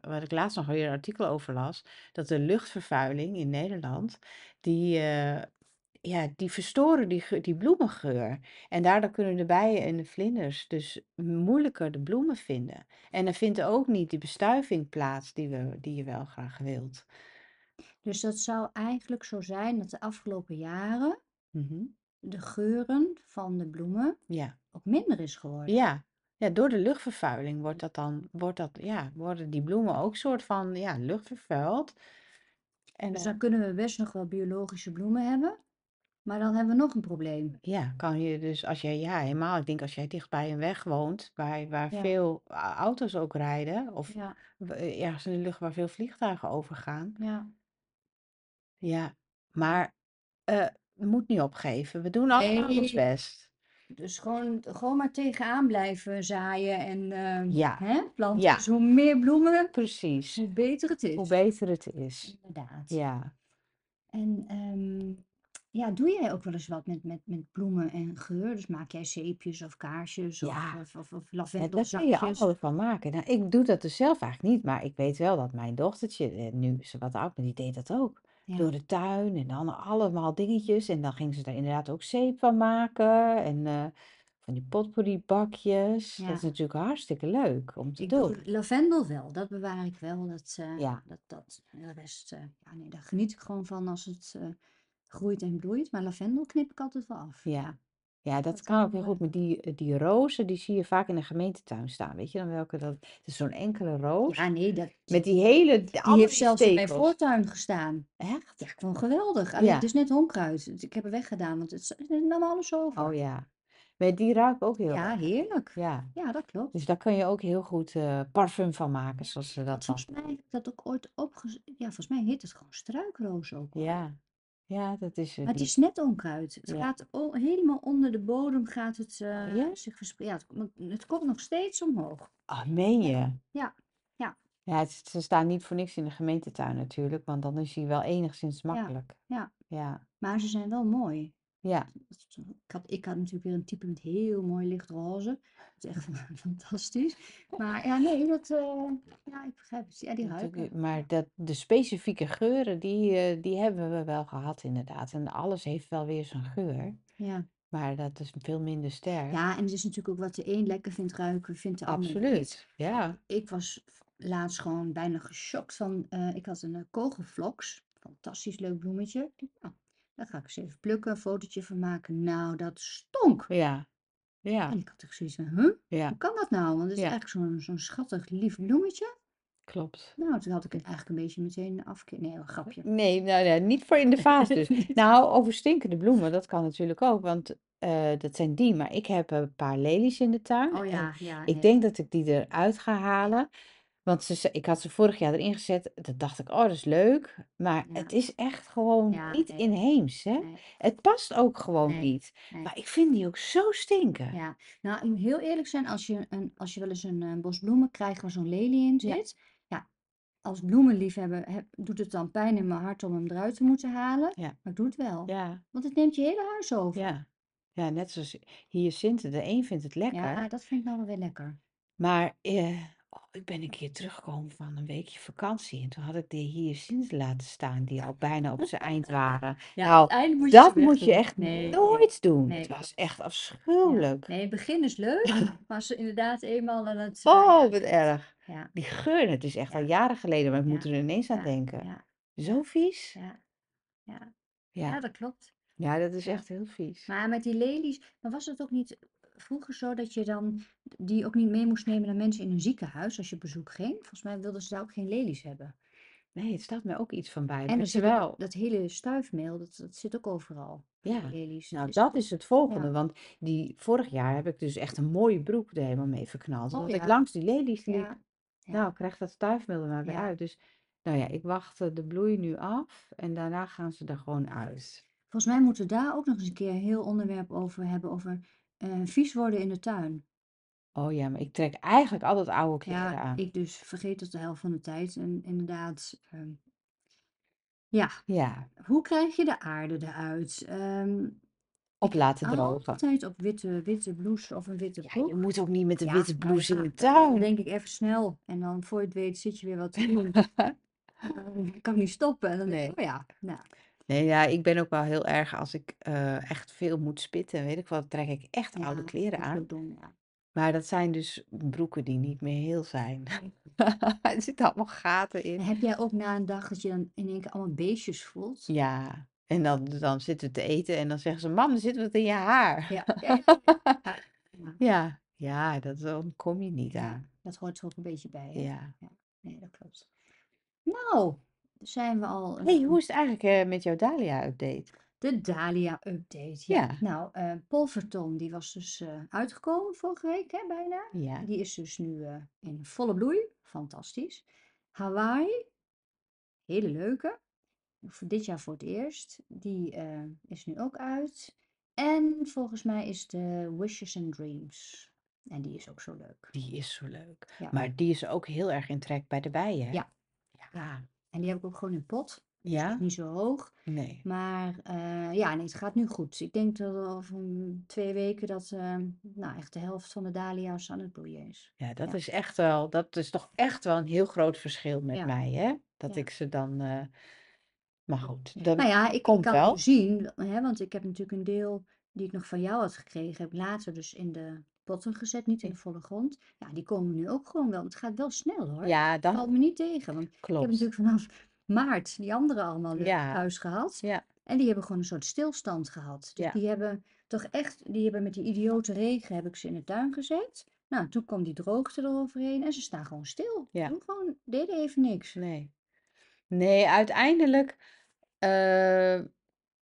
Speaker 1: waar ik laatst nog weer een artikel over las, dat de luchtvervuiling in Nederland, die, eh, ja, die verstoren die, geur- die bloemengeur. En daardoor kunnen de bijen en de vlinders dus moeilijker de bloemen vinden. En dan vindt ook niet die bestuiving plaats die, we, die je wel graag wilt.
Speaker 2: dus dat zou eigenlijk zo zijn dat de afgelopen jaren
Speaker 1: Mhm.
Speaker 2: de geuren van de bloemen
Speaker 1: Ja.
Speaker 2: ook minder is geworden.
Speaker 1: Ja. Ja, door de luchtvervuiling
Speaker 2: Mm.
Speaker 1: wordt dat dan, wordt dat, ja, worden die bloemen ook soort van ja, luchtvervuild. En
Speaker 2: Dus
Speaker 1: eh,
Speaker 2: dan kunnen we best nog wel biologische bloemen hebben, maar dan hebben we nog een probleem.
Speaker 1: ja, kan je dus als jij, ja, helemaal, ik denk als jij dicht bij een weg woont, waar, waar
Speaker 2: Ja,
Speaker 1: veel a- auto's ook rijden, of
Speaker 2: ja,
Speaker 1: w- eh, ergens in de lucht waar veel vliegtuigen overgaan.
Speaker 2: ja.
Speaker 1: Ja, maar eh, moet niet opgeven. We doen allemaal ons
Speaker 2: Nee,
Speaker 1: best.
Speaker 2: dus gewoon, gewoon maar tegenaan blijven zaaien en
Speaker 1: Ja,
Speaker 2: eh, hè, planten.
Speaker 1: ja,
Speaker 2: Dus hoe meer bloemen,
Speaker 1: precies.
Speaker 2: hoe beter het
Speaker 1: Hoe
Speaker 2: is.
Speaker 1: beter het is.
Speaker 2: Inderdaad.
Speaker 1: Ja.
Speaker 2: En ehm, ja, doe jij ook wel eens wat met, met, met bloemen en geur? Dus maak jij zeepjes of kaarsjes of,
Speaker 1: Ja.
Speaker 2: of,
Speaker 1: Ja,
Speaker 2: of, of
Speaker 1: daar kun je
Speaker 2: lavendelzakjes?
Speaker 1: allemaal van maken. Nou, ik doe dat dus zelf eigenlijk niet, maar ik weet wel dat mijn dochtertje, eh, nu is ze wat oud, maar die deed dat ook. Door
Speaker 2: Ja,
Speaker 1: de tuin en dan allemaal dingetjes. En dan ging ze daar inderdaad ook zeep van maken. En eh, van die potpourri bakjes. Dat is
Speaker 2: ja.
Speaker 1: natuurlijk hartstikke leuk om te
Speaker 2: Ik doe
Speaker 1: doen.
Speaker 2: lavendel wel, dat bewaar ik wel. Dat, eh,
Speaker 1: Ja,
Speaker 2: dat, dat. En De rest, eh, ja, nee, daar geniet ik gewoon van als het eh, groeit en bloeit. Maar lavendel knip ik altijd wel af. Ja,
Speaker 1: ja. Ja, dat
Speaker 2: dat eh,
Speaker 1: kan ook heel
Speaker 2: bewaar
Speaker 1: goed.
Speaker 2: ik
Speaker 1: Met
Speaker 2: wel.
Speaker 1: die, eh, die rozen, die zie je vaak in de gemeentetuin staan. Weet je dan welke dat? Het is zo'n enkele
Speaker 2: Ja,
Speaker 1: roos.
Speaker 2: nee, dat,
Speaker 1: Met
Speaker 2: die,
Speaker 1: die hele,
Speaker 2: die
Speaker 1: allemaal
Speaker 2: heeft
Speaker 1: die
Speaker 2: zelfs in mijn
Speaker 1: stekels.
Speaker 2: voortuin gestaan.
Speaker 1: Echt?
Speaker 2: Ja, gewoon geweldig. Alleen het
Speaker 1: Ja.
Speaker 2: is net onkruid. Dus Ik heb het weggedaan, want het, het nam alles
Speaker 1: Oh
Speaker 2: over.
Speaker 1: ja, maar die ruikt ook heel
Speaker 2: Ja,
Speaker 1: lekker.
Speaker 2: heerlijk.
Speaker 1: Ja,
Speaker 2: Ja, dat klopt.
Speaker 1: dus daar kun je ook heel goed eh, parfum van maken,
Speaker 2: Ja,
Speaker 1: zoals ze
Speaker 2: want
Speaker 1: dat dan.
Speaker 2: volgens mij heb ik dat ook ooit opge... Ja, volgens mij heet het gewoon struikroos ook hoor.
Speaker 1: Ja, ja, dat is eh,
Speaker 2: Maar het
Speaker 1: die.
Speaker 2: is net onkruid. Het
Speaker 1: Ja,
Speaker 2: gaat o- helemaal onder de bodem gaat het eh,
Speaker 1: ja?
Speaker 2: zich verspreiden. Ja, het, komt het komt nog steeds omhoog.
Speaker 1: Ah, meen
Speaker 2: Ja,
Speaker 1: je?
Speaker 2: ja, ja,
Speaker 1: Ja, het- ze staan niet voor niks in de gemeentetuin natuurlijk, want dan is hij wel enigszins
Speaker 2: ja,
Speaker 1: makkelijk.
Speaker 2: ja.
Speaker 1: Ja,
Speaker 2: Maar ze zijn wel mooi.
Speaker 1: ja,
Speaker 2: Dat is zo- Ik had, ik had natuurlijk weer een type met heel mooi lichtroze. Dat is echt *laughs* van- fantastisch. Maar ja, nee, dat, eh, ja, ik begrijp het. Ja, die
Speaker 1: dat ook,
Speaker 2: ruiken.
Speaker 1: eh, maar
Speaker 2: Ja,
Speaker 1: dat, de specifieke geuren, die, eh, die hebben we wel gehad inderdaad. En alles heeft wel weer zijn geur,
Speaker 2: ja.
Speaker 1: maar dat is veel minder sterk.
Speaker 2: Ja, en het is natuurlijk ook wat de een lekker vindt ruiken, vindt de ander niet.
Speaker 1: Absoluut, ja.
Speaker 2: Ik was laatst gewoon bijna geschokt van, eh, ik had een eh, kogelvloks, fantastisch leuk bloemetje. Ik denk, Nou, daar ga ik eens even plukken, een fotootje van maken. Nou, dat stonk.
Speaker 1: Ja,
Speaker 2: En
Speaker 1: ja,
Speaker 2: ik had ook zoiets van, huh?
Speaker 1: ja,
Speaker 2: Hoe kan dat nou? Want het is
Speaker 1: ja.
Speaker 2: eigenlijk zo'n zo'n schattig, lief bloemetje.
Speaker 1: Klopt.
Speaker 2: Nou, toen had ik het eigenlijk een beetje meteen afkeer. Nee, een grapje.
Speaker 1: Nee, nou ja, niet voor in de vaas dus. *laughs* Nou, over stinkende bloemen, dat kan natuurlijk ook, want eh, dat zijn die. Maar ik heb een paar lelies in de tuin
Speaker 2: *laughs* Oh
Speaker 1: en
Speaker 2: ja, ja,
Speaker 1: ik
Speaker 2: nee.
Speaker 1: denk dat ik die eruit ga halen. Want ze, ze- ik had ze vorig jaar erin gezet. Dat dacht ik, oh, dat is leuk. Maar het
Speaker 2: Ja,
Speaker 1: is echt gewoon
Speaker 2: ja,
Speaker 1: niet
Speaker 2: nee,
Speaker 1: inheems, hè?
Speaker 2: nee,
Speaker 1: Het past ook gewoon
Speaker 2: nee,
Speaker 1: niet.
Speaker 2: nee.
Speaker 1: Maar ik vind die ook zo stinken.
Speaker 2: Ja, nou, ik moet heel eerlijk zijn, als je, een, als je wel eens een, eh, bos bloemen krijgt waar zo'n lelie in
Speaker 1: Ja,
Speaker 2: zit, ja, als bloemenliefhebber heb, doet het dan pijn in mijn hart om hem eruit te moeten halen,
Speaker 1: ja,
Speaker 2: maar ik doe het wel.
Speaker 1: ja,
Speaker 2: Want het neemt je hele huis over.
Speaker 1: ja. Ja, net zoals hyacinten. De een vindt het lekker.
Speaker 2: Ja, dat vind ik nou wel weer lekker.
Speaker 1: Maar eh, oh, ik ben een keer teruggekomen van een weekje vakantie. En toen had ik die hyacinten laten staan, die al bijna op zijn eind waren.
Speaker 2: Ja,
Speaker 1: Nou,
Speaker 2: uiteindelijk *laughs* moet je ze
Speaker 1: dat moet je
Speaker 2: wegdoen.
Speaker 1: echt
Speaker 2: Nee, nee,
Speaker 1: nooit doen. Het
Speaker 2: nee,
Speaker 1: was
Speaker 2: klopt.
Speaker 1: echt
Speaker 2: Ja,
Speaker 1: afschuwelijk.
Speaker 2: nee, het begin is
Speaker 1: *laughs*
Speaker 2: leuk, maar als ze inderdaad eenmaal aan het, eh, ja,
Speaker 1: Oh, wat erg.
Speaker 2: ja,
Speaker 1: Die geur, het is echt al
Speaker 2: ja,
Speaker 1: jaren geleden, maar ik moet
Speaker 2: ja,
Speaker 1: er ineens aan
Speaker 2: ja,
Speaker 1: denken.
Speaker 2: ja,
Speaker 1: Zo
Speaker 2: ja,
Speaker 1: vies?
Speaker 2: ja, ja, ja,
Speaker 1: Ja,
Speaker 2: dat klopt.
Speaker 1: ja, dat is
Speaker 2: Ja.
Speaker 1: echt heel vies.
Speaker 2: Maar met die lelies, maar was het ook niet eh, vroeger zo dat je dan die ook niet mee moest nemen naar mensen in een ziekenhuis als je op bezoek ging? Volgens mij wilden ze daar ook geen lelies hebben.
Speaker 1: Nee, het staat mij ook iets van bij. dus
Speaker 2: En
Speaker 1: Maar
Speaker 2: er zit ook
Speaker 1: terwijl,
Speaker 2: dat hele stuifmeel, dat, dat zit ook overal. Die
Speaker 1: Ja,
Speaker 2: lelies, dat
Speaker 1: nou
Speaker 2: is dus
Speaker 1: dat is het volgende.
Speaker 2: ja.
Speaker 1: Want die, vorig jaar heb ik dus echt een mooie broek er helemaal mee verknald.
Speaker 2: Oh
Speaker 1: Omdat ik
Speaker 2: ja,
Speaker 1: langs die lelies liep.
Speaker 2: ja,
Speaker 1: Nou,
Speaker 2: ja,
Speaker 1: krijg dat stuifmeel er maar weer
Speaker 2: ja.
Speaker 1: uit. Dus nou ja, ik wacht eh, de bloei nu af. En daarna gaan ze er gewoon uit.
Speaker 2: Volgens mij moeten we daar ook nog eens een keer een heel onderwerp over hebben, over eh, vies worden in de tuin.
Speaker 1: Oh ja, maar ik trek eigenlijk altijd oude kleren
Speaker 2: Ja,
Speaker 1: aan.
Speaker 2: ik dus vergeet dat de helft van de tijd en inderdaad. ehm, Ja,
Speaker 1: Ja,
Speaker 2: hoe krijg je de aarde eruit? Ehm,
Speaker 1: op
Speaker 2: ik heb
Speaker 1: laten drogen.
Speaker 2: Oh, altijd op witte, witte blouse of een witte
Speaker 1: Ja, je
Speaker 2: broek.
Speaker 1: moet ook niet met een
Speaker 2: Ja,
Speaker 1: witte
Speaker 2: nou
Speaker 1: blouse in
Speaker 2: ja,
Speaker 1: de
Speaker 2: dan
Speaker 1: tuin.
Speaker 2: denk ik even snel. En dan voor je het weet zit je weer wat te
Speaker 1: *laughs*
Speaker 2: doen. Dan kan ik niet stoppen. En dan denk ik,
Speaker 1: Nee.
Speaker 2: oh ja, nou.
Speaker 1: Nee, ja, ik ben ook wel heel erg als ik eh, echt veel moet spitten en weet ik wat, trek ik echt oude
Speaker 2: Ja,
Speaker 1: kleren
Speaker 2: dat is
Speaker 1: aan.
Speaker 2: ook dom, ja.
Speaker 1: Maar dat zijn dus broeken die niet meer heel zijn. *laughs* Er zitten allemaal gaten in.
Speaker 2: En heb jij ook na een dag dat je dan in één keer allemaal beestjes voelt?
Speaker 1: Ja, en dan, dan zitten we te eten en dan zeggen ze, mam, er zit wat in je haar.
Speaker 2: Ja,
Speaker 1: *laughs*
Speaker 2: ja, ja, ja. Ja, ja,
Speaker 1: Ja, ja, dat, dan kom je niet
Speaker 2: ja.
Speaker 1: aan.
Speaker 2: Dat hoort er ook een beetje bij, hè?
Speaker 1: Ja.
Speaker 2: Ja, nee, dat klopt. Nou, zijn we al een-
Speaker 1: hey, hoe is het eigenlijk eh, met jouw Dahlia-update?
Speaker 2: de Dahlia-update. Ja,
Speaker 1: Ja,
Speaker 2: nou, eh Polverton, die was dus eh, uitgekomen vorige week, hè, bijna.
Speaker 1: ja.
Speaker 2: Die is dus nu eh, in volle bloei. Fantastisch. Hawaii, hele leuke. Voor dit jaar voor het eerst. Die eh, is nu ook uit. En volgens mij is de Wishes and Dreams. En die is ook zo leuk.
Speaker 1: Die is zo leuk.
Speaker 2: Ja,
Speaker 1: Maar die is ook heel erg in trek bij de bijen, hè?
Speaker 2: ja, ja. dus
Speaker 1: Ja.
Speaker 2: En die heb ik ook gewoon in pot. Die staat
Speaker 1: Ja?
Speaker 2: niet zo hoog.
Speaker 1: Nee.
Speaker 2: Maar eh, ja, nee, het gaat nu goed. Ik denk dat over een- twee weken dat eh, nou, echt de helft van de dahlia's aan het bloeien is.
Speaker 1: Ja, dat
Speaker 2: Ja,
Speaker 1: is echt wel, dat is toch echt wel een heel groot verschil met
Speaker 2: ja,
Speaker 1: mij, hè? Dat
Speaker 2: ja.
Speaker 1: ik ze dan, eh, maar goed,
Speaker 2: Nou
Speaker 1: dat
Speaker 2: ja, ik, ik
Speaker 1: komt
Speaker 2: kan nu
Speaker 1: wel.
Speaker 2: zien, hè, want ik heb natuurlijk een deel die ik nog van jou had gekregen, heb ik later dus in de potten gezet, niet in de volle grond. Ja, die komen nu ook gewoon wel. Het gaat wel snel hoor.
Speaker 1: Ja, dat
Speaker 2: Valt me niet tegen, want ik heb
Speaker 1: klopt.
Speaker 2: natuurlijk vanaf *laughs* maart die andere allemaal eh,
Speaker 1: Ja,
Speaker 2: thuis gehad.
Speaker 1: ja,
Speaker 2: En die hebben gewoon een soort stilstand gehad. Dus
Speaker 1: ja.
Speaker 2: die hebben toch echt, die hebben met die idiote regen heb ik ze in de tuin gezet. Nou, toen kwam die droogte eroverheen en ze staan gewoon stil. Ze
Speaker 1: Ja,
Speaker 2: doen gewoon, deden even niks.
Speaker 1: nee. Nee, uiteindelijk, eh,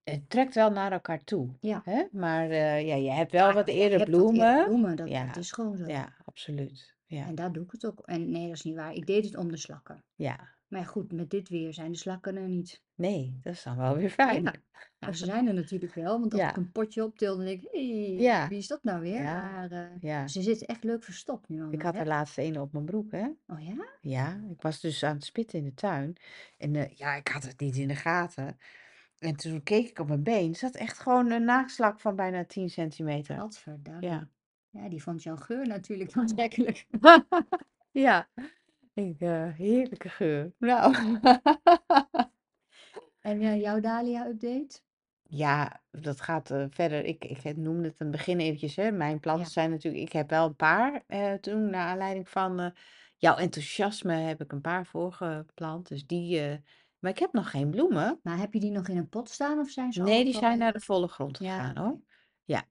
Speaker 1: het trekt wel naar elkaar toe,
Speaker 2: Ja.
Speaker 1: hè? Maar eh, ja, je hebt wel
Speaker 2: Ah,
Speaker 1: wat
Speaker 2: ja, je
Speaker 1: eerder
Speaker 2: hebt wat eerder
Speaker 1: bloemen.
Speaker 2: bloemen, dat, dat
Speaker 1: Ja,
Speaker 2: is gewoon zo.
Speaker 1: ja, absoluut. Ja,
Speaker 2: En daar doe ik het ook. En nee, dat is niet waar. Ik deed het om de slakken.
Speaker 1: ja.
Speaker 2: Maar goed, met dit weer zijn de slakken er niet.
Speaker 1: Nee, dat is dan wel weer
Speaker 2: Ja,
Speaker 1: fijn.
Speaker 2: nou, ze zijn er natuurlijk wel. Want als ik
Speaker 1: Ja,
Speaker 2: een potje optil, dan denk ik, hé,
Speaker 1: ja,
Speaker 2: wie is dat nou weer?
Speaker 1: ja,
Speaker 2: Maar eh,
Speaker 1: *laughs* ja.
Speaker 2: ze zitten echt leuk verstopt nu
Speaker 1: Ik
Speaker 2: allemaal,
Speaker 1: had
Speaker 2: hè?
Speaker 1: er laatst een op mijn broek, hè?
Speaker 2: Oh ja?
Speaker 1: Ja, ik was dus aan het spitten in de tuin. En eh, ja, ik had het niet in de gaten. En toen keek ik op mijn been. Zat echt gewoon een naakslak van bijna 10 centimeter.
Speaker 2: Gadverdamme.
Speaker 1: Ja.
Speaker 2: Ja, die vond jouw geur
Speaker 1: *laughs*
Speaker 2: natuurlijk aantrekkelijk.
Speaker 1: Ja, ik, eh, heerlijke geur. Nou. *laughs*
Speaker 2: En eh, jouw Dahlia-update?
Speaker 1: Ja, dat gaat eh, verder. Ik, ik het noemde het in het begin eventjes, hè. Mijn planten
Speaker 2: Ja.
Speaker 1: zijn natuurlijk... Ik heb wel een paar eh, toen, naar aanleiding van eh, jouw enthousiasme, heb ik een paar voorgeplant. Dus die... eh, maar ik heb nog geen bloemen. Dus
Speaker 2: Maar heb je die nog in een pot staan of zijn ze
Speaker 1: Nee,
Speaker 2: al
Speaker 1: die
Speaker 2: wel
Speaker 1: zijn
Speaker 2: in
Speaker 1: naar de
Speaker 2: de...
Speaker 1: volle grond
Speaker 2: Ja,
Speaker 1: gegaan,
Speaker 2: oké.
Speaker 1: hoor. Ja.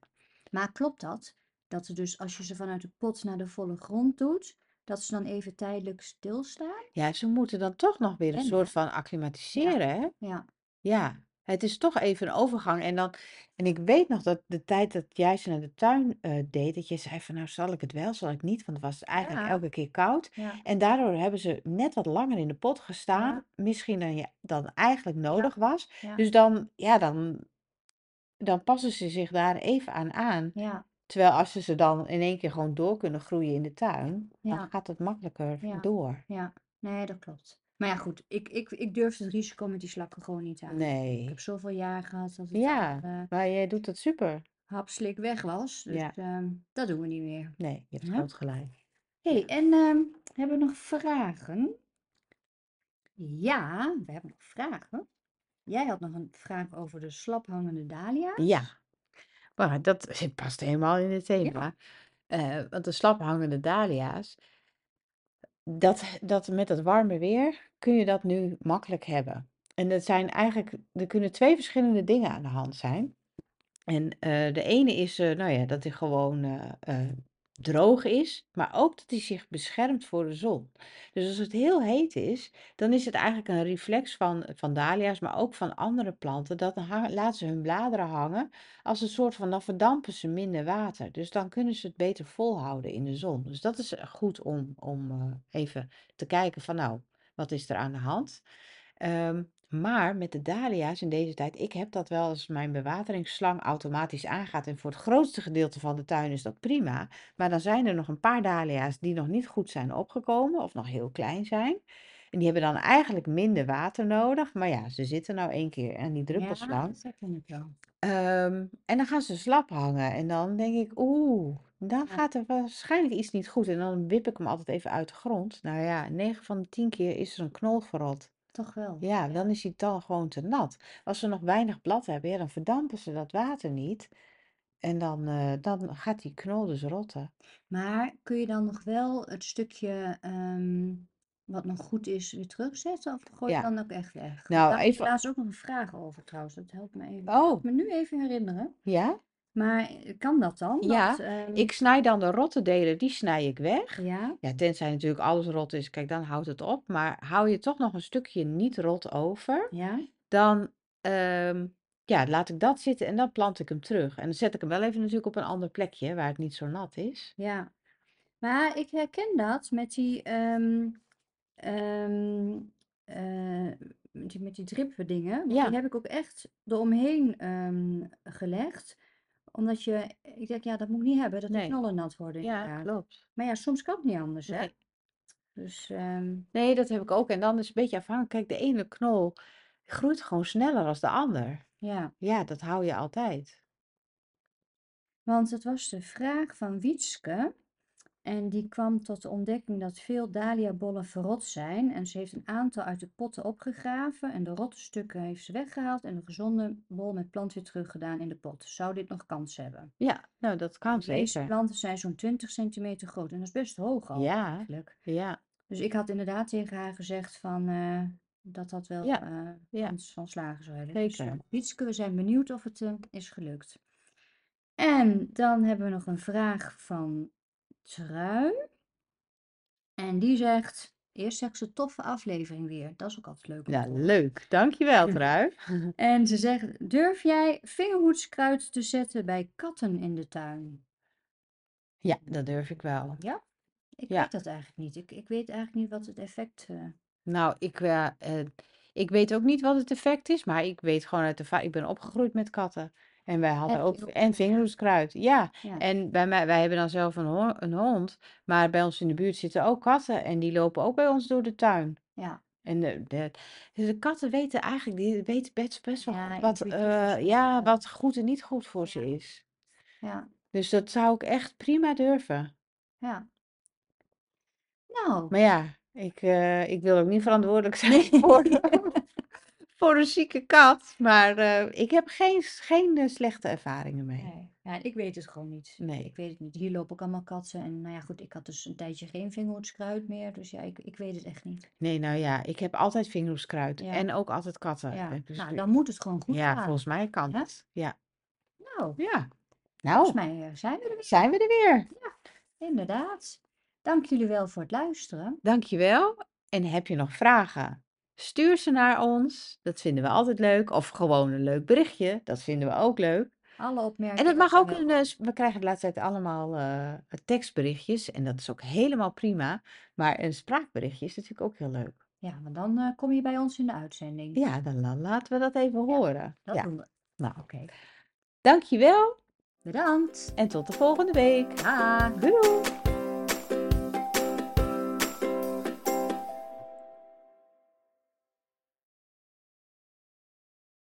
Speaker 2: Maar klopt dat? Dat ze dus als je ze vanuit de pot naar de volle grond doet, dat ze dan even tijdelijk stilstaan?
Speaker 1: Ja, ze moeten dan toch nog weer een
Speaker 2: En hè?
Speaker 1: soort van
Speaker 2: Ja,
Speaker 1: acclimatiseren, hè?
Speaker 2: ja.
Speaker 1: Ja, het is toch even een overgang. En dan, en ik weet nog dat de tijd dat jij ze naar de tuin eh, deed, dat je zei van nou zal ik het wel, zal ik niet, want het was eigenlijk
Speaker 2: Ja,
Speaker 1: elke keer koud.
Speaker 2: ja,
Speaker 1: En daardoor hebben ze net wat langer in de pot gestaan,
Speaker 2: ja,
Speaker 1: misschien dan, je, dan eigenlijk
Speaker 2: ja,
Speaker 1: nodig was.
Speaker 2: ja,
Speaker 1: Dus dan, ja, dan, dan passen ze zich daar even aan aan.
Speaker 2: ja,
Speaker 1: Terwijl als ze ze dan in één keer gewoon door kunnen groeien in de tuin, dan
Speaker 2: ja,
Speaker 1: gaat het makkelijker
Speaker 2: ja,
Speaker 1: door.
Speaker 2: ja. Nee, dat klopt. Maar ja, goed, ik, ik, ik durf het risico met die slakken gewoon niet aan. Ik heb
Speaker 1: Nee.
Speaker 2: zoveel jaar gehad dat het
Speaker 1: Ja,
Speaker 2: allemaal eh
Speaker 1: maar jij doet dat super.
Speaker 2: hapslik weg was. Dus
Speaker 1: Ja,
Speaker 2: ehm, dat doen we niet meer.
Speaker 1: nee, je hebt
Speaker 2: Hè?
Speaker 1: groot gelijk.
Speaker 2: hey,
Speaker 1: Ja.
Speaker 2: en ehm, hebben we nog vragen? Ja, we hebben nog vragen. Jij had nog een vraag over de slaphangende dahlia's.
Speaker 1: Ja, maar dat *laughs* zit- past helemaal in het
Speaker 2: Ja,
Speaker 1: thema. Eh, want de slaphangende dahlia's, dat, dat met dat warme weer kun je dat nu makkelijk hebben. En dat zijn eigenlijk, er kunnen twee verschillende dingen aan de hand zijn. En eh, de ene is, eh, nou ja, dat hij gewoon eh, eh, droog is, maar ook dat hij zich beschermt voor de zon. Dus als het heel heet is, dan is het eigenlijk een reflex van, van dahlia's, maar ook van andere planten. Dat dan hangen- laten ze hun bladeren hangen als een soort van, dan verdampen ze minder water. Dus dan kunnen ze het beter volhouden in de zon. Dus dat is eh, goed om, om eh, even te kijken van, nou, wat is er aan de hand? Ehm, maar met de dahlia's in deze tijd, ik heb dat wel als mijn bewateringsslang automatisch aangaat. En voor het grootste gedeelte van de tuin is dat prima. Maar dan zijn er nog een paar dahlia's die nog niet goed zijn opgekomen of nog heel klein zijn. En die hebben dan eigenlijk minder water nodig. Maar ja, ze zitten nou één keer aan die
Speaker 2: Ja,
Speaker 1: druppelslang.
Speaker 2: dat herken ik wel.
Speaker 1: Ehm, en dan gaan ze slap hangen. En dan denk ik, oeh, dan
Speaker 2: Ja.
Speaker 1: gaat er waarschijnlijk iets niet goed. En dan wip ik hem altijd even uit de grond. Nou ja, 9 van de 10 keer is er een knol verrot.
Speaker 2: Toch wel.
Speaker 1: Ja,
Speaker 2: Ja.
Speaker 1: dan is die dan gewoon te nat. Als ze nog weinig blad hebben, ja, dan verdampen ze dat water niet. En dan, eh, dan gaat die knol dus rotten.
Speaker 2: Maar kun je dan nog wel het stukje ehm, wat nog goed is weer terugzetten? Of gooi je
Speaker 1: Ja,
Speaker 2: dan ook echt weg? Want
Speaker 1: nou
Speaker 2: daar had ik
Speaker 1: even.
Speaker 2: laatst ook nog een vraag over trouwens. Dat helpt me even. Kan ik
Speaker 1: Oh, Mm.
Speaker 2: me nu even herinneren.
Speaker 1: ja?
Speaker 2: Maar eh, kan dat dan? Dat,
Speaker 1: Ja,
Speaker 2: ehm,
Speaker 1: ik snij dan de rotte delen, die snij ik weg.
Speaker 2: ja,
Speaker 1: Ja, tenzij natuurlijk alles rot is, kijk, dan houdt het op. Maar hou je toch nog een stukje niet rot over,
Speaker 2: ja.
Speaker 1: dan ehm, ja, laat ik dat zitten en dan plant ik hem terug. En dan zet ik hem wel even natuurlijk op een ander plekje waar het niet zo nat is.
Speaker 2: Ja, maar ik herken dat met die, ehm ehm, eh, met die, met die dripdingen. Want die
Speaker 1: Ja,
Speaker 2: heb ik ook echt eromheen ehm gelegd. Omdat je, ik denk, ja, dat moet ik niet hebben, dat die
Speaker 1: nee.
Speaker 2: knollen nat worden
Speaker 1: Ja,
Speaker 2: inderdaad.
Speaker 1: klopt.
Speaker 2: Maar ja, soms kan het niet anders, hè?
Speaker 1: Nee.
Speaker 2: Dus ehm,
Speaker 1: Nee, dat heb ik ook. En dan is het een beetje afhankelijk. Kijk, de ene knol groeit gewoon sneller dan de ander.
Speaker 2: ja,
Speaker 1: Ja, dat hou je altijd.
Speaker 2: want het was de vraag van Wietske. En die kwam tot de ontdekking dat veel dahliabollen verrot zijn. En ze heeft een aantal uit de potten opgegraven. En de rotte stukken heeft ze weggehaald. En de gezonde bol met plant weer teruggedaan in de pot. Zou dit nog kans hebben?
Speaker 1: Ja, nou, dat kan
Speaker 2: En deze
Speaker 1: zeker.
Speaker 2: planten zijn zo'n 20 centimeter groot. En dat is best hoog al
Speaker 1: Ja,
Speaker 2: eigenlijk.
Speaker 1: ja,
Speaker 2: Dus ik had inderdaad tegen haar gezegd van, eh, dat dat wel
Speaker 1: ja,
Speaker 2: eh,
Speaker 1: ja,
Speaker 2: kans van slagen zou hebben. Dus eh
Speaker 1: zeker.
Speaker 2: Wietske, we zijn benieuwd of het eh, is gelukt. En dan hebben we nog een vraag van Trui. En die zegt, eerst zegt ze toffe aflevering weer. Dat is ook altijd leuk om
Speaker 1: Ja,
Speaker 2: te horen.
Speaker 1: leuk. *laughs* Dankjewel, Trui.
Speaker 2: En ze zegt, durf jij vingerhoedskruid te zetten bij katten in de tuin?
Speaker 1: Ja, dat durf ik wel.
Speaker 2: Ja, ik weet
Speaker 1: Ja,
Speaker 2: dat eigenlijk niet. Ik, ik weet eigenlijk niet wat het effect... eh,
Speaker 1: nou, ik, eh, eh, ik weet ook niet wat het effect is, maar ik weet gewoon uit de va- Ik ben opgegroeid met katten. En wij hadden
Speaker 2: heb
Speaker 1: ook,
Speaker 2: ik ook
Speaker 1: en
Speaker 2: gedaan.
Speaker 1: vingerhoedskruid. Ja,
Speaker 2: Ja,
Speaker 1: en bij mij, wij hebben dan zelf een, ho- een hond, maar bij ons in de buurt zitten ook katten en die lopen ook bij ons door de tuin.
Speaker 2: ja,
Speaker 1: En de, de, de katten weten eigenlijk, die weten best, best wel goed
Speaker 2: ja,
Speaker 1: wat,
Speaker 2: intuïtief is
Speaker 1: eh,
Speaker 2: dat.
Speaker 1: ja,
Speaker 2: eh,
Speaker 1: wat goed en niet goed voor ze
Speaker 2: ja,
Speaker 1: is.
Speaker 2: ja,
Speaker 1: Dus dat zou ik echt prima durven.
Speaker 2: ja. Nou,
Speaker 1: Maar ja, ik, eh, ik wil ook niet verantwoordelijk *laughs* zijn
Speaker 2: nee.
Speaker 1: voor, voor een zieke kat. Maar eh, ik heb geen, s- geen eh, slechte ervaringen mee.
Speaker 2: Nee, ja, ik weet het gewoon niet.
Speaker 1: Nee.
Speaker 2: Ik weet het niet. Hier lopen ook allemaal katten. En nou ja, goed, ik had dus een tijdje geen vingerhoedskruid meer. Dus ja, ik, ik weet het echt niet.
Speaker 1: Nee, nou ja, ik heb altijd vingerhoedskruid
Speaker 2: Ja,
Speaker 1: en ook altijd katten.
Speaker 2: ja.
Speaker 1: Eh, Dus
Speaker 2: Nou,
Speaker 1: eh,
Speaker 2: dan moet het gewoon goed
Speaker 1: ja, Oh.
Speaker 2: gaan.
Speaker 1: volgens mij kan
Speaker 2: Hè?
Speaker 1: het. Ja.
Speaker 2: Nou,
Speaker 1: Ja.
Speaker 2: volgens
Speaker 1: Nou,
Speaker 2: mij eh, zijn we er weer.
Speaker 1: zijn we er weer.
Speaker 2: Ja, inderdaad. Dank jullie wel voor het luisteren.
Speaker 1: Dankjewel. En heb je nog vragen? Stuur ze naar ons. Dat vinden we altijd leuk. Of gewoon een leuk berichtje. Dat vinden we ook leuk.
Speaker 2: Alle
Speaker 1: En
Speaker 2: opmerkingen
Speaker 1: dat mag
Speaker 2: zijn
Speaker 1: ook in. eh,
Speaker 2: welkom.
Speaker 1: s- we krijgen de laatste tijd allemaal eh, tekstberichtjes. En dat is ook helemaal prima. Maar een spraakberichtje is natuurlijk ook heel leuk.
Speaker 2: Ja, want dan eh, kom je bij ons in de uitzending.
Speaker 1: Ja, dan, la- laten we dat even
Speaker 2: Ja,
Speaker 1: horen.
Speaker 2: dat
Speaker 1: Ja,
Speaker 2: doen we.
Speaker 1: nou.
Speaker 2: Oké,
Speaker 1: Dankjewel
Speaker 2: bedankt.
Speaker 1: en tot de volgende week.
Speaker 2: Dag.
Speaker 1: Doei!